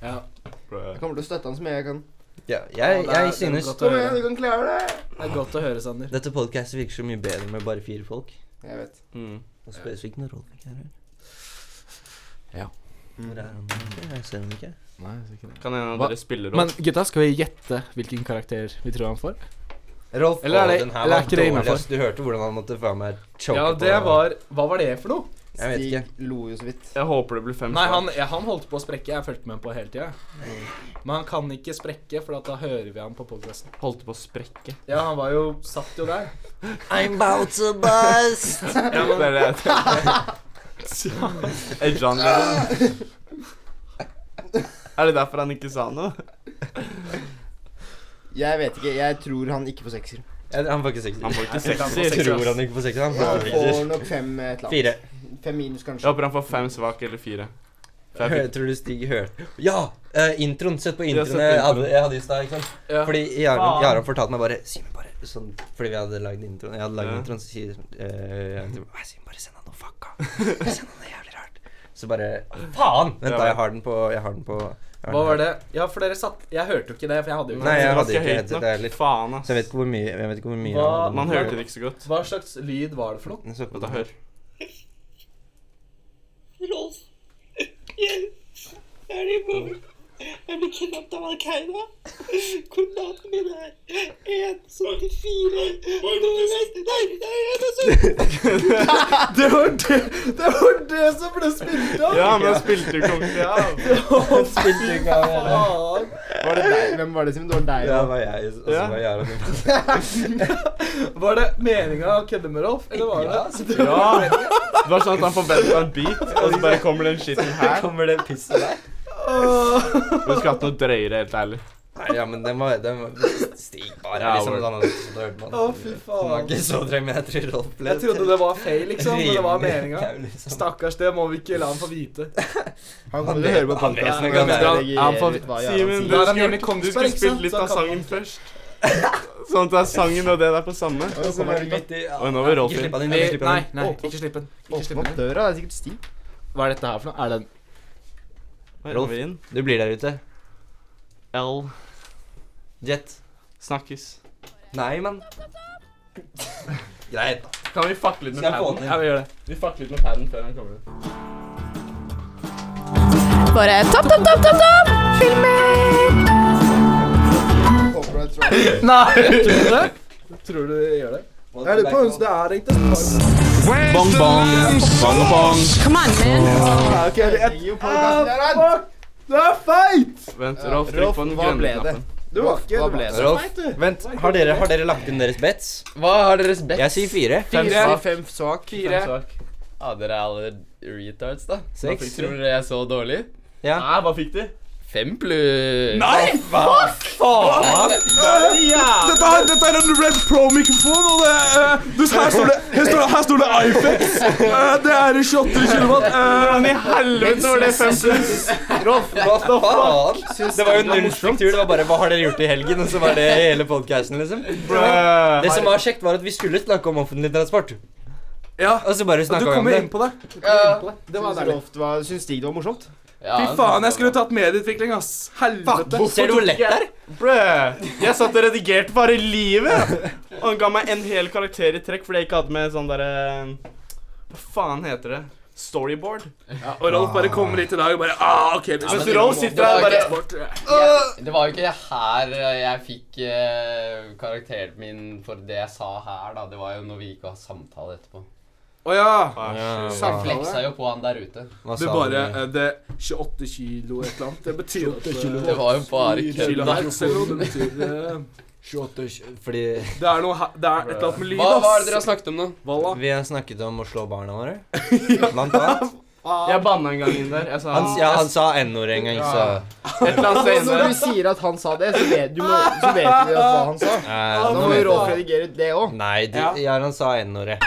B: Ja.
E: Jeg kommer til å støtte han så mye jeg kan.
C: Ja,
B: Ja,
C: jeg,
B: det er-
C: jeg
B: det er
C: synes
B: godt å
E: Kom
B: høre.
E: igjen, du kan klare det!
B: Det er godt å høre, Sander.
C: Dette podcastet virker så mye bedre med bare fire folk.
E: Jeg vet.
A: Mm.
C: Og spesifikt når Rolf ikke er her.
B: Ja.
C: Hvor er han? Jeg ser han ikke.
A: Kan en av
B: Hva?
A: dere spille
B: Men
A: opp?
B: gutta, skal vi gjette hvilken karakter vi tror han får?
C: Rolf,
B: Eller er det-
C: å, den her
B: eller er
C: var
B: ikke det
C: dårlig,
B: innenfor?
C: ass. Du hørte hvordan han måtte faen meg choke
B: Ja, det
C: på
B: var Hva var det for noe?
C: Jeg vet ikke.
E: Stig lo jo så vidt.
A: Jeg håper det blir fem
B: Nei,
A: svar.
B: han, ja, han holdt på å sprekke. Jeg fulgte med ham på hele tida. Men han kan ikke sprekke, for at da hører vi ham på podkasten.
A: holdt på å sprekke.
B: Ja, han var jo satt jo der.
C: I'm about to bust!
A: Ja, men... Det er det jeg tenkte. Er John Lennon Er det derfor han ikke sa noe?
E: Jeg vet ikke. Jeg tror han ikke får sekser.
C: Jeg- Han får ikke seks.
A: Han får ikke
C: Jeg
A: sekser.
C: tror han ikke får seks. Han får
E: Han får
C: seks.
E: nok fem eh, et eller
C: Fire.
E: annet. Fem minus,
A: Jeg
E: kanskje.
A: håper han får fem svak eller fire. For jeg
C: Hør, tror du Stig hørte Ja! eh, introen. Sett på
A: Ja, sett
C: introen
A: på
C: jeg hadde,
A: introen.
C: jeg hadde i stad. ikke sant?
B: Ja.
C: Fordi Jaron
A: Faen.
C: Jaron fortalte meg bare Simen, bare sånn, Fordi vi hadde lagd introen. Jeg hadde lagd
A: Ja.
C: introen, så sier eh, jeg til- «Nei, Simen, bare send han noe fucka. Bare Send han noe jævlig rart. Så bare Faen! Vent, da. Jeg har den på Jeg har den på jeg har
B: Hva
C: den her.
B: var det? Ja, for dere satt Jeg hørte jo ikke det, for jeg hadde jo
A: fikk-
B: ikke
C: Nei, jeg hadde
A: Det var
C: ikke headset,
A: høyt
C: det er
A: nok.
C: litt-
A: Faen,
C: Så jeg vet
A: ass.
C: ikke hvor mye Jeg vet ikke hvor mye
B: Hva-
C: jeg hadde.
A: Man hørte det ikke så godt.
B: Hva slags lyd var det for noe?
C: Jeg så på
A: Vent, da,
C: den.
A: hør.
G: Rolf, hjelp! Jeg er i bomb. Jeg blir kidnappet av Al Qaida. Koordinatene mine er 174 nordvest Nei, nei, 71!
B: Det var det, det var det som ble spilt av!
A: Ja, men han spilte jo kongen av.
B: Han spilte
C: ikke av,
B: Faen!
E: Var det deg? Hvem var det som Det var deg.
C: Ja, det
E: da.
C: var jeg, og så
A: Ja.
C: var Jaron inne.
B: Var det meninga å kødde med Rolf, eller var det det?
A: Ja. Det var sånn at han forventa en beat, og så bare kommer den shiten her.
C: Kommer det pisset der?
A: Du skulle hatt noe drøyere, helt ærlig.
C: Nei, ja, men den var, den var Stig bare
A: Ja,
C: liksom
A: vel.
C: den hadde så dårlig på den.
B: Å, fy
C: Den var
B: faen.
C: ikke så drøm, jeg tror Rolf ble liksom.
B: Jeg trodde det var feil, liksom, men det var meninga.
C: Stakk.
B: Stakkars, det må vi ikke la han få vite.
E: Han kommer til å høre på
C: Han vet- han
E: podcasten
C: vet
E: og
C: det.
E: redigere
B: Han får-
E: ut hva Jarand
A: Simen,
E: sier.
A: du
B: Da er han
A: skulle,
B: hjemme
A: gjort-
B: i
A: du skulle
B: Kongsberg, ikke sant?
A: spilt litt
B: Så
A: av
B: han
A: sangen først. Sånn at det er sangen og det der på samme.
E: Og så kommer han-
A: Og nå var Rolf inn.
C: han
B: Vi,
C: slipp han
B: nei,
C: inn.
B: nei, ikke slipp den. Ikke
E: Åpne
B: slipp
E: opp
B: den.
E: døra, det er sikkert Stig.
B: Hva er dette her for noe? Er det en
A: Rolf inn.
C: Du blir der ute.
A: L.
C: Jet.
A: Snakkes.
C: Nei, mann. Greit, da.
D: Kan vi fucke litt med
C: Skal jeg få
D: paden?
C: den inn?
D: Ja, vi gjør det. Vi fucker litt med paden før han kommer ut.
H: Bare topp, topp, topp, topp, topp! Filmer!
E: Copyright strike.
B: Tror du de gjør det?
C: Jeg lurer på
B: Det er egentlig
A: Bong, bong. Bong, bong.
H: Come on, man.
E: Jeg henger jo på gassen
C: Ah,
E: der, han.
A: Vent, Rolf, trykk
E: Rolf,
A: på den
E: hva ble
A: grønne
E: det?
A: knappen.
E: Du var ikke Hva ble det?
C: Rolf, vent. Har dere, har dere lagt inn deres bets?
D: Hva har deres bett?
C: Jeg sier fire.
D: Fire.
E: Fire, fem svak.
D: Fire. Ja, Ah, dere er alle retards, da. Hva
C: Seks.
D: fikk- Tror dere jeg så dårlig?
C: Ja.
D: Nei, hva fikk de? Fem pluss
A: Nei!
C: Faen!
A: Dette, her, dette er en Red Pro-mikrofon, og det, eh, du, her står det Her står det, her står det iFex. Eh, det er i 28 kilowatt. Eh, Hvordan i helvete var det fem pluss?
E: Rolf,
C: Hva faen? Det var jo null struktur. Det var bare 'hva har dere gjort i helgen?' Og så var det hele podcasten, liksom. Det som var kjekt, var at vi skulle snakke om offentlig transport.
A: Ja.
C: Og så bare
A: Du
C: snakka vi om
A: kommer
C: det.
A: inn på det.
E: det var deilig. Rolf, det var, syns Stig det var morsomt?
A: Fy faen, jeg skulle tatt medieutvikling, ass. Helvete.
C: Ser du hvor lett det er?
A: Brød. Jeg satt og redigerte bare livet. Og han ga meg en hel karakter i trekk fordi jeg ikke hadde med sånn derre Hva faen heter det? Storyboard. Og Rolf bare kommer hit i dag og bare ah, ok. Mens
D: men
A: Rolf
D: det-
A: sitter der og
D: det
A: bare
D: var Jeg- Det var jo ikke her eh, jeg fikk eh, karakteren min for det jeg sa her, da. Det var jo når vi gikk og hadde samtale etterpå.
B: Å ja.
A: Ah,
D: Jeg fleksa jo på han der ute.
C: Hva
B: Du
C: sa
B: bare
C: du?
B: eh, Det er 28 kilo et eller annet. Det betyr at eh,
D: Det var jo bare kødd
B: Kilo
D: der.
B: hertz eller noe. Det betyr eh,
C: 28 Fordi
B: Det er noe he- Det er et eller annet med lyd,
D: Hva, hva er det
B: ass.
D: dere har snakket om nå?
B: Valla.
C: vi har snakket om å slå barna våre. Blant annet.
A: Jeg banna en gang inn der. Jeg sa
C: Han, ja, han sa n-ordet en gang, så
A: et eller annet
E: Altså,
A: sted inne
E: når
A: der.
E: du sier at han sa det, så vet du, må, så vet du at hva han sa.
C: eh,
E: Nå
C: nå
E: må jo
C: vet
B: Ah.
E: Rolf
C: jeg.
E: redigere ut det òg.
C: Nei, du, ja, han sa n-ordet.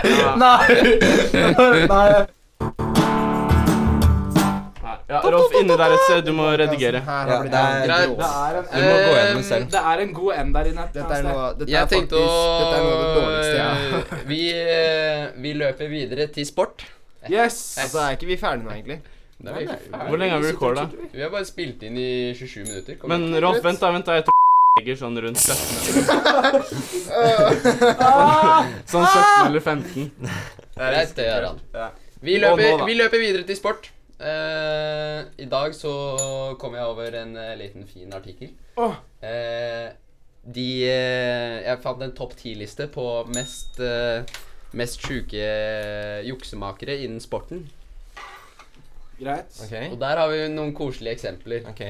A: Ja, Rolf, inni der et sted. Du må redigere.
E: Her
C: Ja,
E: har blitt
C: det
E: en
C: er-
E: grov-
B: Det er en
C: Du må gå gjennom selv.
B: Det er en god N der inne.
E: Dette er noe dette er
D: Jeg
E: faktisk,
D: tenkte å
E: Dette er noe av det dårligste jeg har
D: vi, eh, vi løper videre til sport.
B: Yes.
E: Altså, er ikke vi ferdige nå, egentlig?
D: Det er vi ikke ferdig.
A: Hvor lenge har vi recorda?
D: Vi har bare spilt inn i 27 minutter. Kom
A: Men
D: igjen.
A: Rolf, vent, da. vent da Jeg tror ligger sånn rundt 17. Sånn 17 eller 15.
D: Greit, det gjør han.
A: Ja.
D: Vi
A: Og nå,
D: løper,
A: da.
D: vi løper videre til sport. Eh, I dag så kom jeg over en eh, liten fin artikkel.
B: Åh.
D: Eh, de eh, Jeg fant en topp ti-liste på mest eh, Mest sjuke eh, juksemakere innen sporten.
B: Greit.
D: Og
C: Ok,
D: der har vi noen koselige eksempler.
C: ok.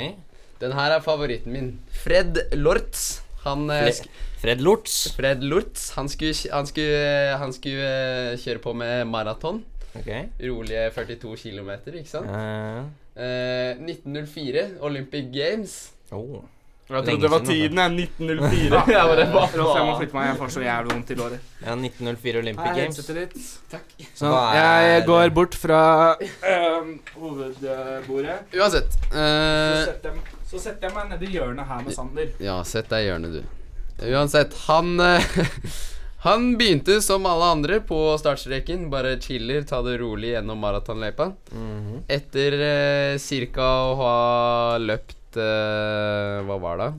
D: Den her er favoritten min. Fred Lortz. Han eh, sk-
C: Fred Lortz.
D: Fred Lortz. Han skulle, han skulle, han skulle eh, kjøre på med maraton.
C: Ok.
D: Rolige 42 km, ikke sant?
C: Eh,
D: Eh, 1904, Olympic Games.
C: oh.
A: Jeg trodde det var tiden, jeg. 1904.
B: Ja,
A: Jeg bare, hva
B: Rolf, jeg må flytte meg. Jeg får så jævlig vondt i låret.
C: Ja, 1904 Olympic
B: Her,
C: Games.
B: headsetet ditt. Takk. Sånn.
C: Hva er-
B: Jeg går bort fra øhm, Ehm, hovedbordet.
D: Uansett.
B: Så
D: eh,
B: setter, jeg, så setter jeg meg nedi hjørnet her med Sander.
D: ja, sett deg i hjørnet, du. Uansett, han eh, Han begynte som alle andre på startstreken. Bare chiller, ta det rolig gjennom maratonløypa. Mhm. Etter eh, ca. å ha løpt eh, Hva var det?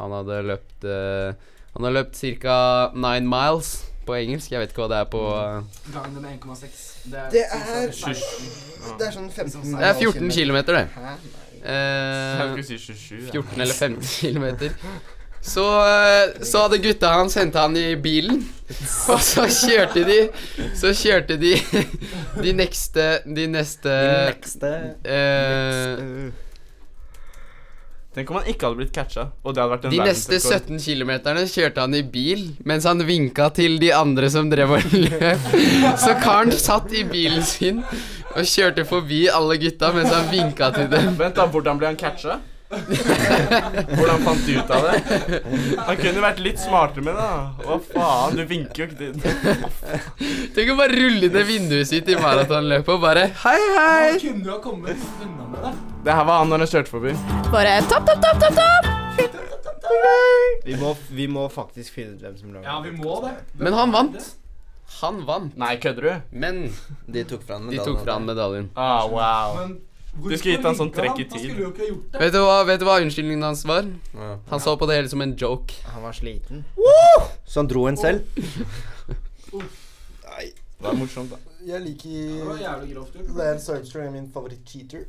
D: Han hadde løpt eh, Han har løpt ca. nine miles på engelsk. Jeg vet ikke hva det er på eh,
B: Gangen den er 1,6.
E: Det er-
B: 16.
E: Det er sånn 15
D: Det er 14 km, det.
E: Hæ?
A: Jeg
D: Eh,
A: skulle si 27. jeg.
D: 14 eller 15 km. Så, eh, så hadde gutta hans henta han i bilen, og så kjørte de Så kjørte de de neste De neste eh,
A: Tenk om han ikke hadde blitt catcha. Og det hadde vært en
D: De neste
A: verdensrekord.
D: 17 km kjørte han i bil mens han vinka til de andre som drev og løp. Så karen satt i bilen sin og kjørte forbi alle gutta mens han vinka til dem.
A: Vent, da. Hvordan ble han catcha? Hvordan fant du ut av det? Han kunne vært litt smartere med det. da. Hva faen? Du vinker jo ikke til
D: Tenk å bare rulle ned vinduet sitt i maratonløpet og bare Hei, hei!
B: Kunne du ha kommet unna med det?
A: Det her var han når han kjørte forbi.
H: Bare topp, topp, topp, topp, topp!
E: Vi må, vi må faktisk finne ut hvem som lager
B: Ja, vi må det.
D: Men han vant. Han vant.
A: Nei, kødder du?
D: Men
C: De tok fra han
D: de
C: medaljen.
D: tok fra han medaljen.
A: Ah, wow.
B: Men
A: Du skulle gitt han sånn trekk i tid.
B: jo ikke ha gjort
D: Vet du hva, vet du hva unnskyldningen hans var?
C: Ja.
D: Han så på det hele som en joke.
C: Sånn
E: Han var sliten.
C: Så han dro en selv?
A: Det er morsomt, da.
I: Jeg liker
B: jævlig grovt gjort.
I: Lance Armstrong er min favoritt-cheater.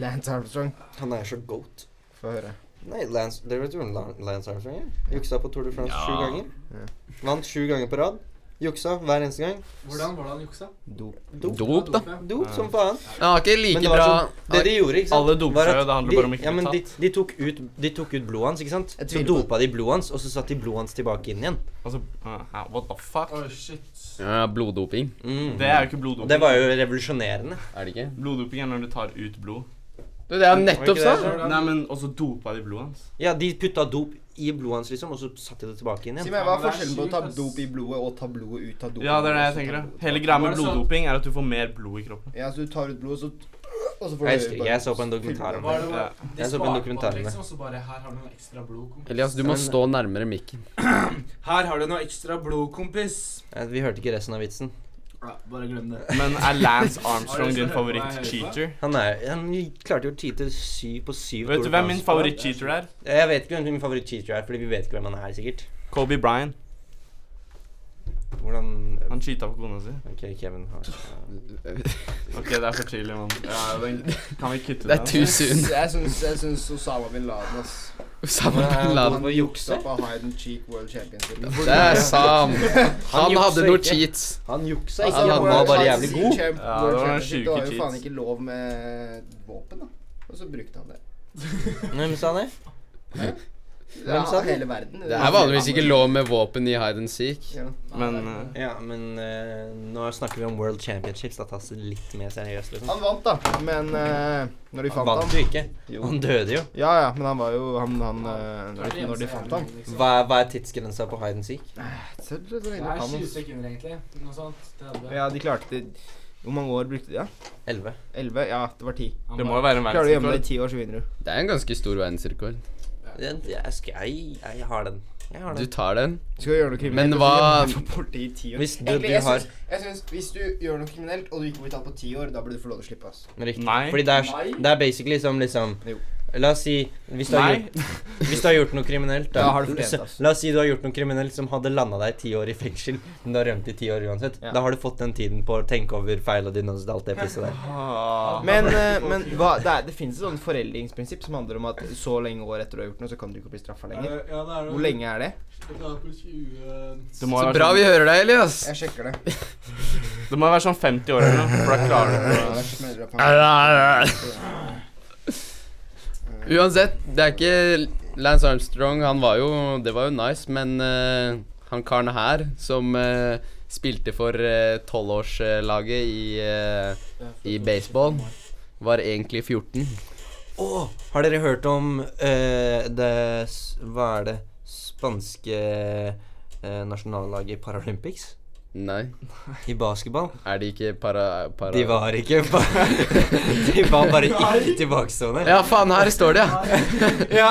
E: Lance Armstrong.
C: Han er så goat.
E: Få høre.
C: Nei, Lance, dere vet jo hvem Lan- Lance Armstrong er? Juksa på Tour de France sju
D: Ja.
C: ganger.
E: Ja.
C: Vant sju ganger på rad. Juksa hver eneste gang.
B: Hvordan var det han juksa?
E: Dop.
C: Dop,
D: Dop, da.
C: dop som faen.
D: Han har ikke
C: Men
D: like
C: det var
D: bra
C: sånn- Det de gjorde, ikke sant
A: Alle doper
C: var at
A: seg jo, det handler
C: de-
A: bare om ikke
C: ja,
A: å bli
C: men de,
A: tatt.
C: de, tok ut, de tok ut blodet hans, ikke sant?
E: Jeg
C: Så
E: tviler på det.
C: dopa de blodet hans, og så satte de blodet hans tilbake inn igjen.
A: Altså, hæ, what the fuck?
B: Oh, shit.
D: ja, bloddoping,
C: Mm.
A: Det er jo ikke
C: Og
A: bloddoping.
C: det var jo revolusjonerende.
D: er det ikke?
A: Bloddoping er når du tar ut blod.
D: Du, det er jo nettopp
C: det
D: sa!
C: sånn?
A: Nei, men også dopa de blodet hans.
C: Ja, de putta dop i blodet hans, liksom, og så satte de det tilbake inn
E: Si
C: igjen.
E: meg, hva er
B: Ja, men det er
E: forskjellen på å ta
B: sjukt, ass.
E: dop i blodet og ta blodet ut av dopet?
A: Ja, det er det jeg tenker. ja. Hele greia med
B: Var det sant?
A: bloddoping er at du får mer blod i kroppen.
E: Ja, så du tar ut blodet, så Og så får
C: Jeg husker
E: bare-
C: ikke, jeg så på en dokumentar om
B: Var
C: det.
B: det
A: Ja.
B: de
C: Jeg så på
B: sparer
C: dokumentaren
B: på det,
C: der.
B: liksom, og så bare Her har du noe ekstra blod, kompis.
D: Elias, du må stå nærmere mikken.
B: Her har du noe ekstra blod, kompis.
C: Eh, Vi hørte ikke resten av vitsen.
B: Ja, bare glem det.
A: Men er Lance
B: Har
A: Armstrong
B: du
A: din
B: hørt på meg
A: favoritt-cheater?
C: Han, er, han klarte jo å cheate syv på syv
A: Vet
C: Tour de
A: du hvem min
C: France.
A: favoritt-cheater er?
C: Jeg vet ikke hvem min favoritt-cheater er, fordi vi vet ikke hvem han er, sikkert.
A: Kobe Bryant.
C: Hvordan
A: Han cheata på kona si.
C: Ok, Kevin har
A: Ok, det er for tidlig, mann. Ja, den- kan vi kutte
D: Det er too soon.
E: Jeg syns, jeg syns Osama bin Laden ass.
D: Osama bin Laden.
E: Han juksa på Hide and Cheek World Championship.
D: Det er sant. Han
C: jukser
D: hadde noe
C: ikke.
D: cheats.
C: Han
D: ikke,
C: juksa ikke,
E: Altså,
D: han
C: han var
E: World
C: bare
E: Chance
C: jævlig god.
E: Champ,
A: Ja,
E: World
A: det var en
E: Championship, det var jo
A: sjuke
E: faen
A: cheats.
E: ikke lov med våpen, da. Og så brukte han det.
C: Hvem sa han det?
E: Ja,
C: sa det?
E: hele verden. Altså,
D: Det er vanligvis ikke lov med våpen i hide and seek.
E: Ja.
A: Men eh,
C: Ja, men eh, nå snakker vi om World Championships. Da tas det litt mer seriøst, liksom.
E: Han vant, da. Men eh, når de
C: Han
E: fant
C: vant
E: ham
C: jo ikke.
E: Jo.
C: Han døde jo.
E: Ja, ja, men han var jo han, han eh, når, de, når de fant ham
C: Hva er, hva er tidsgrensa på hide and seek?
E: Se, det er så
B: liksom. Det
E: lenge
B: er
E: han-
B: 20 sekunder, egentlig. Noe sånt. 30.
E: Ja, de klarte det. Hvor mange år brukte de? Ja?
C: 11.
E: 11? Ja, det var 10.
B: Han
A: det må
B: bare-
A: jo være en
E: Klarer du å gjemme deg
A: verdensrekord.
E: i 10 år, så vinner du.
D: Det er en ganske stor verdensrekord.
C: Jeg, jeg, skal- jeg, jeg har den. Jeg har
D: Du
C: den.
D: tar den.
E: Du skal gjøre noe kriminelt.
D: Men
E: og så
D: hva-
E: gjemme deg for borte i 10 år.
C: Hvis du,
E: Egentlig,
C: du
E: jeg
C: har
E: syns- Jeg syns hvis du gjør noe kriminelt, og du ikke blir tatt på 10 år, da burde du få lov til å slippe, ass.
C: Riktig.
A: Nei.
C: Fordi det er, det er basically som liksom
E: Jo.
C: La oss si hvis du, har
A: Nei.
C: gjort, hvis du har gjort noe kriminelt da,
E: Da har du fortjent altså. det, ass.
C: La oss si du har gjort noe kriminelt som hadde landa deg ti år i fengsel, men du har rømt i ti år uansett.
E: Ja.
C: Da har du fått den tiden på å tenke over feila dine og alt det pisset der.
A: Ah.
E: Men, eh, men hva, det, er, det finnes et sånt foreldingsprinsipp som handler om at så lenge år etter du har gjort noe, så kan du ikke bli straffa lenger.
B: Ja, det er det.
E: Hvor lenge er det?
B: Det er på 20
A: Det
D: Så
A: må jo være sånn-
D: bra vi hører deg, Elias.
E: Jeg sjekker det.
A: Det må jo være sånn 50 år eller noe, for da klarer du det.
E: Ellers smeller det på meg.
D: Uansett, det er ikke Lance Armstrong, han var jo Det var jo nice, men eh, han karen her som eh, spilte for eh, tolvårslaget i, eh, i baseball, var egentlig 14.
C: Åh, har dere hørt om eh, det s- Hva er det spanske eh, nasjonallaget i Paralympics?
D: Nei,
C: I basketball?
D: er de ikke para... para
C: De var ikke ba De var bare ikke tilbakestående.
D: Ja, faen, her står det, ja.
C: Ja,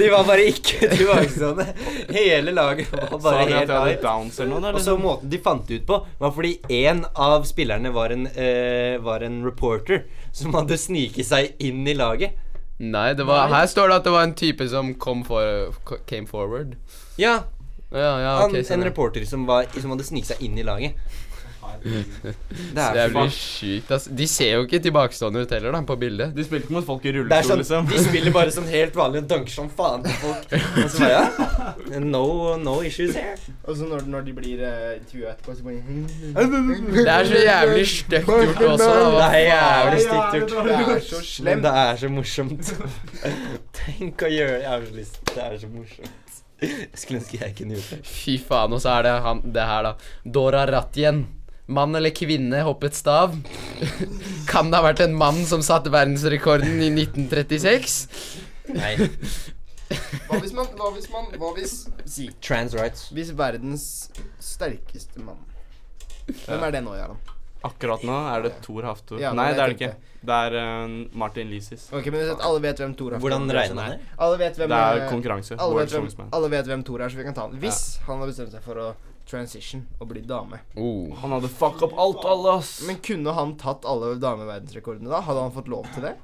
C: de var bare ikke tilbakestående. Hele laget var
A: Sa
C: bare
A: de at
C: helt
A: jeg hadde
C: out.
A: downs eller noe?
C: Og så måten de fant det ut på, var fordi én av spillerne var en, eh, var en reporter som hadde sniket seg inn i laget.
D: Nei, det var, her står det at det var en type som kom for, ko- came forward.
C: Ja,
D: Ja, ja,
C: han,
D: ok,
C: en
D: sånn, ja.
C: reporter som, var, som hadde sniket seg inn i laget. Det
D: Det
C: er,
D: blir sjukt, ass. De ser jo ikke tilbakestående ut heller, da, på bildet.
A: De spilte ikke mot folk i
C: det er
A: rullestol,
C: sånn,
A: liksom.
C: De spiller bare sånn helt vanlig og dunker som faen til folk. Og så bare, ja, no, no issues here.
E: Og så Altså, når, når de blir uh, intervjua etterpå, så bare "Hm,
D: Det er så jævlig stygt gjort også. Da.
C: Det
D: Hva
C: er jævlig
D: faen?
C: stygt gjort.
E: Det er så
C: Men
E: slemt.
C: det er så morsomt. Tenk å gjøre det. Jeg har så lyst. Det er så morsomt. Jeg skulle ønske jeg kunne gjort det.
D: Fy faen, og så er det han, det her, da. Dora Rattjen. Mann eller kvinne hoppet stav? kan det ha vært en mann som satte verdensrekorden i 1936?
C: Nei.
E: Hva hvis man Hva hvis man Hva hvis Si.
C: Trans rights.
E: Hvis verdens sterkeste mann Hvem er det nå, Jarand?
A: Akkurat nå er det Thor Haftor.
E: Ja, det var
A: Nei,
E: det
A: det er det
E: jeg
A: ikke. Det er eh, Martin Lisis.
E: Ok, men Alle vet hvem Thor er.
C: Hvordan regner
E: det?
C: han det? sånn
E: Alle vet hvem
A: Det er
E: eh,
A: konkurranse.
E: alle
A: World
E: vet, hvem,
A: Strongest Man.
E: alle vet hvem Thor er, så vi kan ta han. Hvis han har bestemt seg for å transition og bli dame.
D: Oh.
A: Han hadde fucka opp alt, alle, ass.
E: Men kunne han tatt alle dameverdensrekordene da? Hadde han fått lov til det?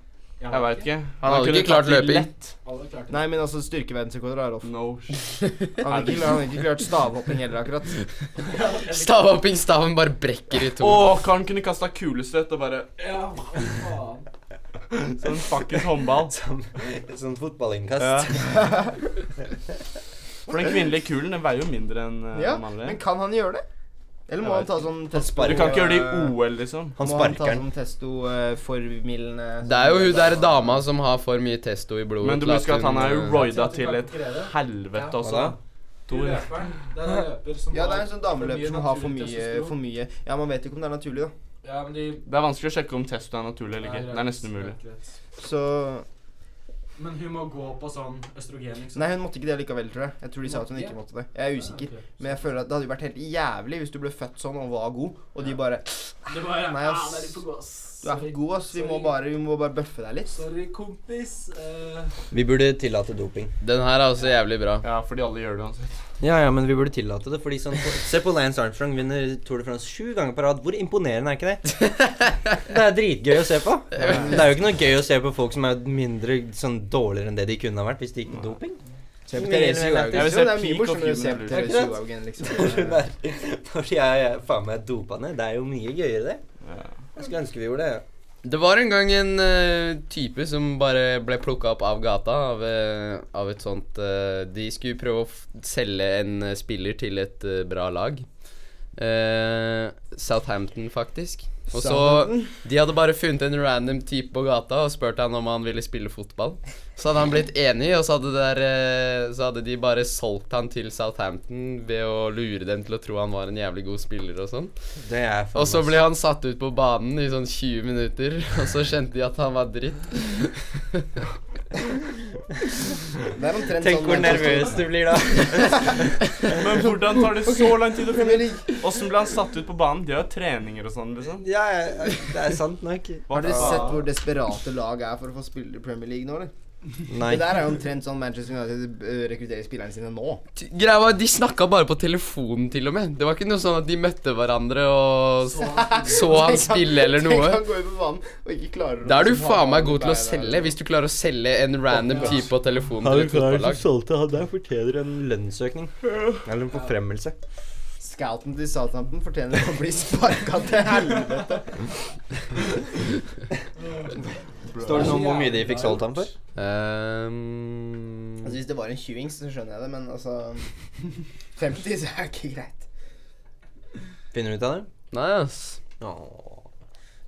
A: Jeg veit ikke.
D: Han hadde
A: kunne
D: ikke klart
A: tatt det
D: løping.
A: lett.
B: Alle klarte det.
E: Nei, men altså styrkeverdensrekorder er off.
A: No shit.
E: Han har ikke, han har ikke klart stavhopping heller, akkurat.
D: Stavhopping, staven bare brekker i to.
A: Å, Karen kunne kasta kulestøt og bare
B: Ja, faen.
A: Som en fuckings håndball.
C: Sånn fotballinnkast.
A: Ja. For den kvinnelige kulen den veier jo mindre enn eh,
E: Ja,
A: den
E: men
A: mannlige.
E: kan han gjøre det? Eller må
A: Jeg
E: han ta sånn test eh,
A: Du kan ikke gjøre det i OL, liksom.
E: Må
C: Han
E: han
C: sparker
E: ta
C: den.
E: sånn testo eh, formildende
D: Det er jo hun der dama som har for mye testo i blodet.
A: Men du
D: til
A: må huske at han er jo
D: hun- eh,
A: roida
B: Du
A: til
B: kan
A: et
B: konkurrere.
A: helvete altså. også.
C: Ja.
A: Tor.
B: Løperen. Det er en løper som
E: Ja, det er
B: har
E: en sånn dameløper som har for mye,
B: naturlig
E: for mye Ja, man vet ikke om det er naturlig, da.
B: Ja, men de
A: Det er vanskelig å sjekke om testo er naturlig eller ikke. Det er nesten umulig.
E: Så
B: Men hun må gå på sånn østrogen, liksom.
E: Nei, hun måtte ikke det likevel, tror jeg. Jeg tror de sa at hun
B: Måtte
E: ikke måtte det. Jeg er usikker.
B: Ok.
E: Men jeg føler at det hadde jo vært helt jævlig hvis du ble født sånn og var god, og de bare
B: Det bare
E: Nei,
B: ah,
E: ass.
B: det er litt for god, ass.
E: Du er for god, ass. Vi må
B: Sorry.
E: bare, vi må bare bøffe deg litt.
B: Sorry, kompis. Eh,
C: Vi burde tillate doping.
D: Den her er også jævlig bra.
A: Ja, fordi alle gjør det altså. uansett.
C: Ja, ja, men vi burde tillate det, fordi sånn Se på Lance Armstrong vinner Tour de France sju ganger på rad. Hvor imponerende er ikke det? Det er dritgøy å se på. Det er jo ikke noe gøy å se på folk som er mindre sånn dårligere enn det de kunne ha vært hvis de gikk doping.
E: Se på
C: Mer
E: Therese
C: eller
E: Johaug.
C: mindre.
E: Jeg vil se Det er
A: Jeg peak
E: mye
A: of
E: morsommere å se på
A: human
C: error.
E: Therese Johaug enn
C: Hun
E: liksom
C: er- Når jeg er faen meg dopa ned. Det er jo mye gøyere, det. Jeg skulle ønske vi gjorde det.
D: Det var en gang en eh, type som bare ble plukka opp av gata av, eh, av et sånt eh, De skulle prøve å f selge en eh, spiller til et eh, bra lag. Eh, Southampton, faktisk. Og så De hadde bare funnet en random type på gata og spurt han om han ville spille fotball. Så hadde han blitt enig, og så hadde, det der, eh, så hadde de bare solgt han til Southampton ved å lure dem til å tro han var en jævlig god spiller og sånn.
C: Det er faen
D: Og så
C: meg-
D: ble han satt ut på banen i sånn 20 minutter, og så skjønte de at han var dritt.
E: Det er omtrent
C: Tenk hvor
E: sånn Manchester-
C: nervøs du blir da.
A: Men hvordan tar det så lang tid å finne
E: Premier League.
A: Åssen ble han satt ut på banen? De har jo treninger og sånn, liksom.
C: Ja, ja, det er sant nok.
A: Hva
E: Har dere
A: faen?
E: sett hvor desperate lag er for å få spille i Premier League nå, eller?
C: Nei.
E: Det der er jo omtrent sånn Manchester United eh, rekrutterer spillerne sine nå.
D: T- Greia var, De snakka bare på telefonen, til og med. Det var ikke noe sånn at de møtte hverandre og s- så
E: Sånn.
D: han spille eller
E: Tenk
D: noe.
E: han går ut på banen og ikke klarer å-
D: Da er du
E: som
D: faen
E: har
D: meg
E: han
D: god til å
E: der, der.
D: selge, hvis du klarer å selge en random type på telefonen til et fotballag.
C: solgte han der, fortjener en lønnsøkning. Eller en forfremmelse.
E: Scouten til Southampton fortjener å bli sparka til helvete.
C: Står det noe om hvor mye de fikk solgt han for?
D: Ehm,
E: Altså Hvis det var en 20-ings, så skjønner jeg det, men altså 50, så er det ikke greit.
C: Finner du ut av det?
D: nei, ass.
C: Åh.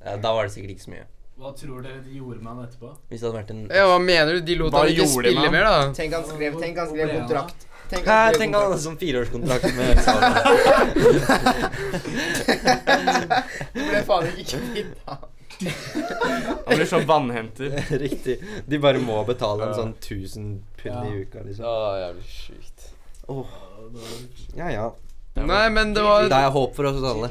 C: Ja, da var det sikkert ikke så mye.
B: hva tror dere de gjorde med han etterpå?
C: Hvis det hadde vært en
D: Ja, hva mener du? De lot
A: Hva
D: han ikke
A: gjorde de
D: spille
A: med
D: mer, da.
E: Tenk han skrev, tenk han skrev
B: Hvor ble han
E: kontrakt. Tenk
C: Hæ,
E: han skrev
C: tenk han
E: kontrakt.
C: hadde sånn fireårskontrakt med Sala.
E: Du ble faen ikke kvitt han.
A: Han blir sånn vannhenter.
C: Riktig. De bare må betale en sånn 1000 pund i uka, liksom.
D: Å, jævlig sjukt.
C: Ja ja.
D: Nei, men det
C: Det
D: var
C: er håp for oss alle.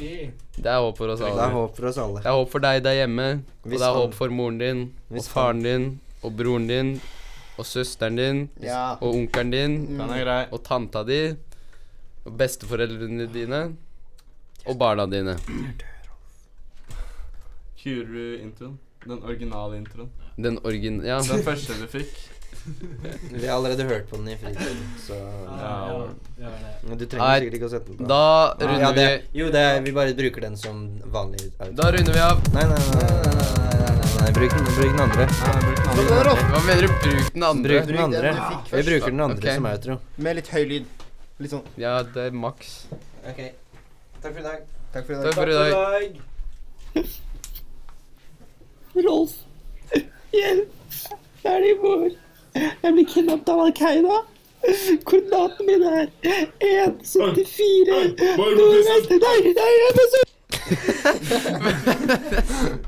D: Det er håp for oss
C: Det er
D: alle.
C: håp for oss alle.
D: Det er håp for deg der hjemme, og
C: Hvis
D: det er
C: han-
D: håp for moren din, og
C: Hvis han-
D: faren din, og broren din, og søsteren din,
E: Ja.
D: og onkelen din,
A: Den er grei.
D: og tanta di, og besteforeldrene dine, og barna dine.
A: Kurer du introen? Den originale introen.
D: Den origin... Ja.
A: Den første du fikk.
C: Vi har allerede hørt på den i fritiden, så
A: Ja.
B: Ja, det er det.
C: Men Du
D: Nei.
C: trenger sikkert ikke å sette den på.
D: Da
C: ja,
D: runder vi
C: det, jo, det, vi bare bruker den som vanlig outro.
D: Da runder vi av.
C: Nei, nei, nei, nei, nei, nei, nei, nei, nei. Bruk, den, bruk den andre.
E: Mm.
D: Hva mener du? Bruk den andre.
C: Bruk den
E: Bruk den
C: andre.
E: du fikk
C: Vi bruker den
D: Ok.
C: andre som outro.
E: Med litt høy lyd. Litt sånn.
D: Ja, det er maks.
C: Ok. Takk for i dag.
E: Takk for i dag.
D: Takk for i dag.
G: Rolf, hjelp! Det er din mor. Jeg blir kidnappet av Al Qaida. Koordinatene mine er 174 nordvest Nei, nei, jeg er på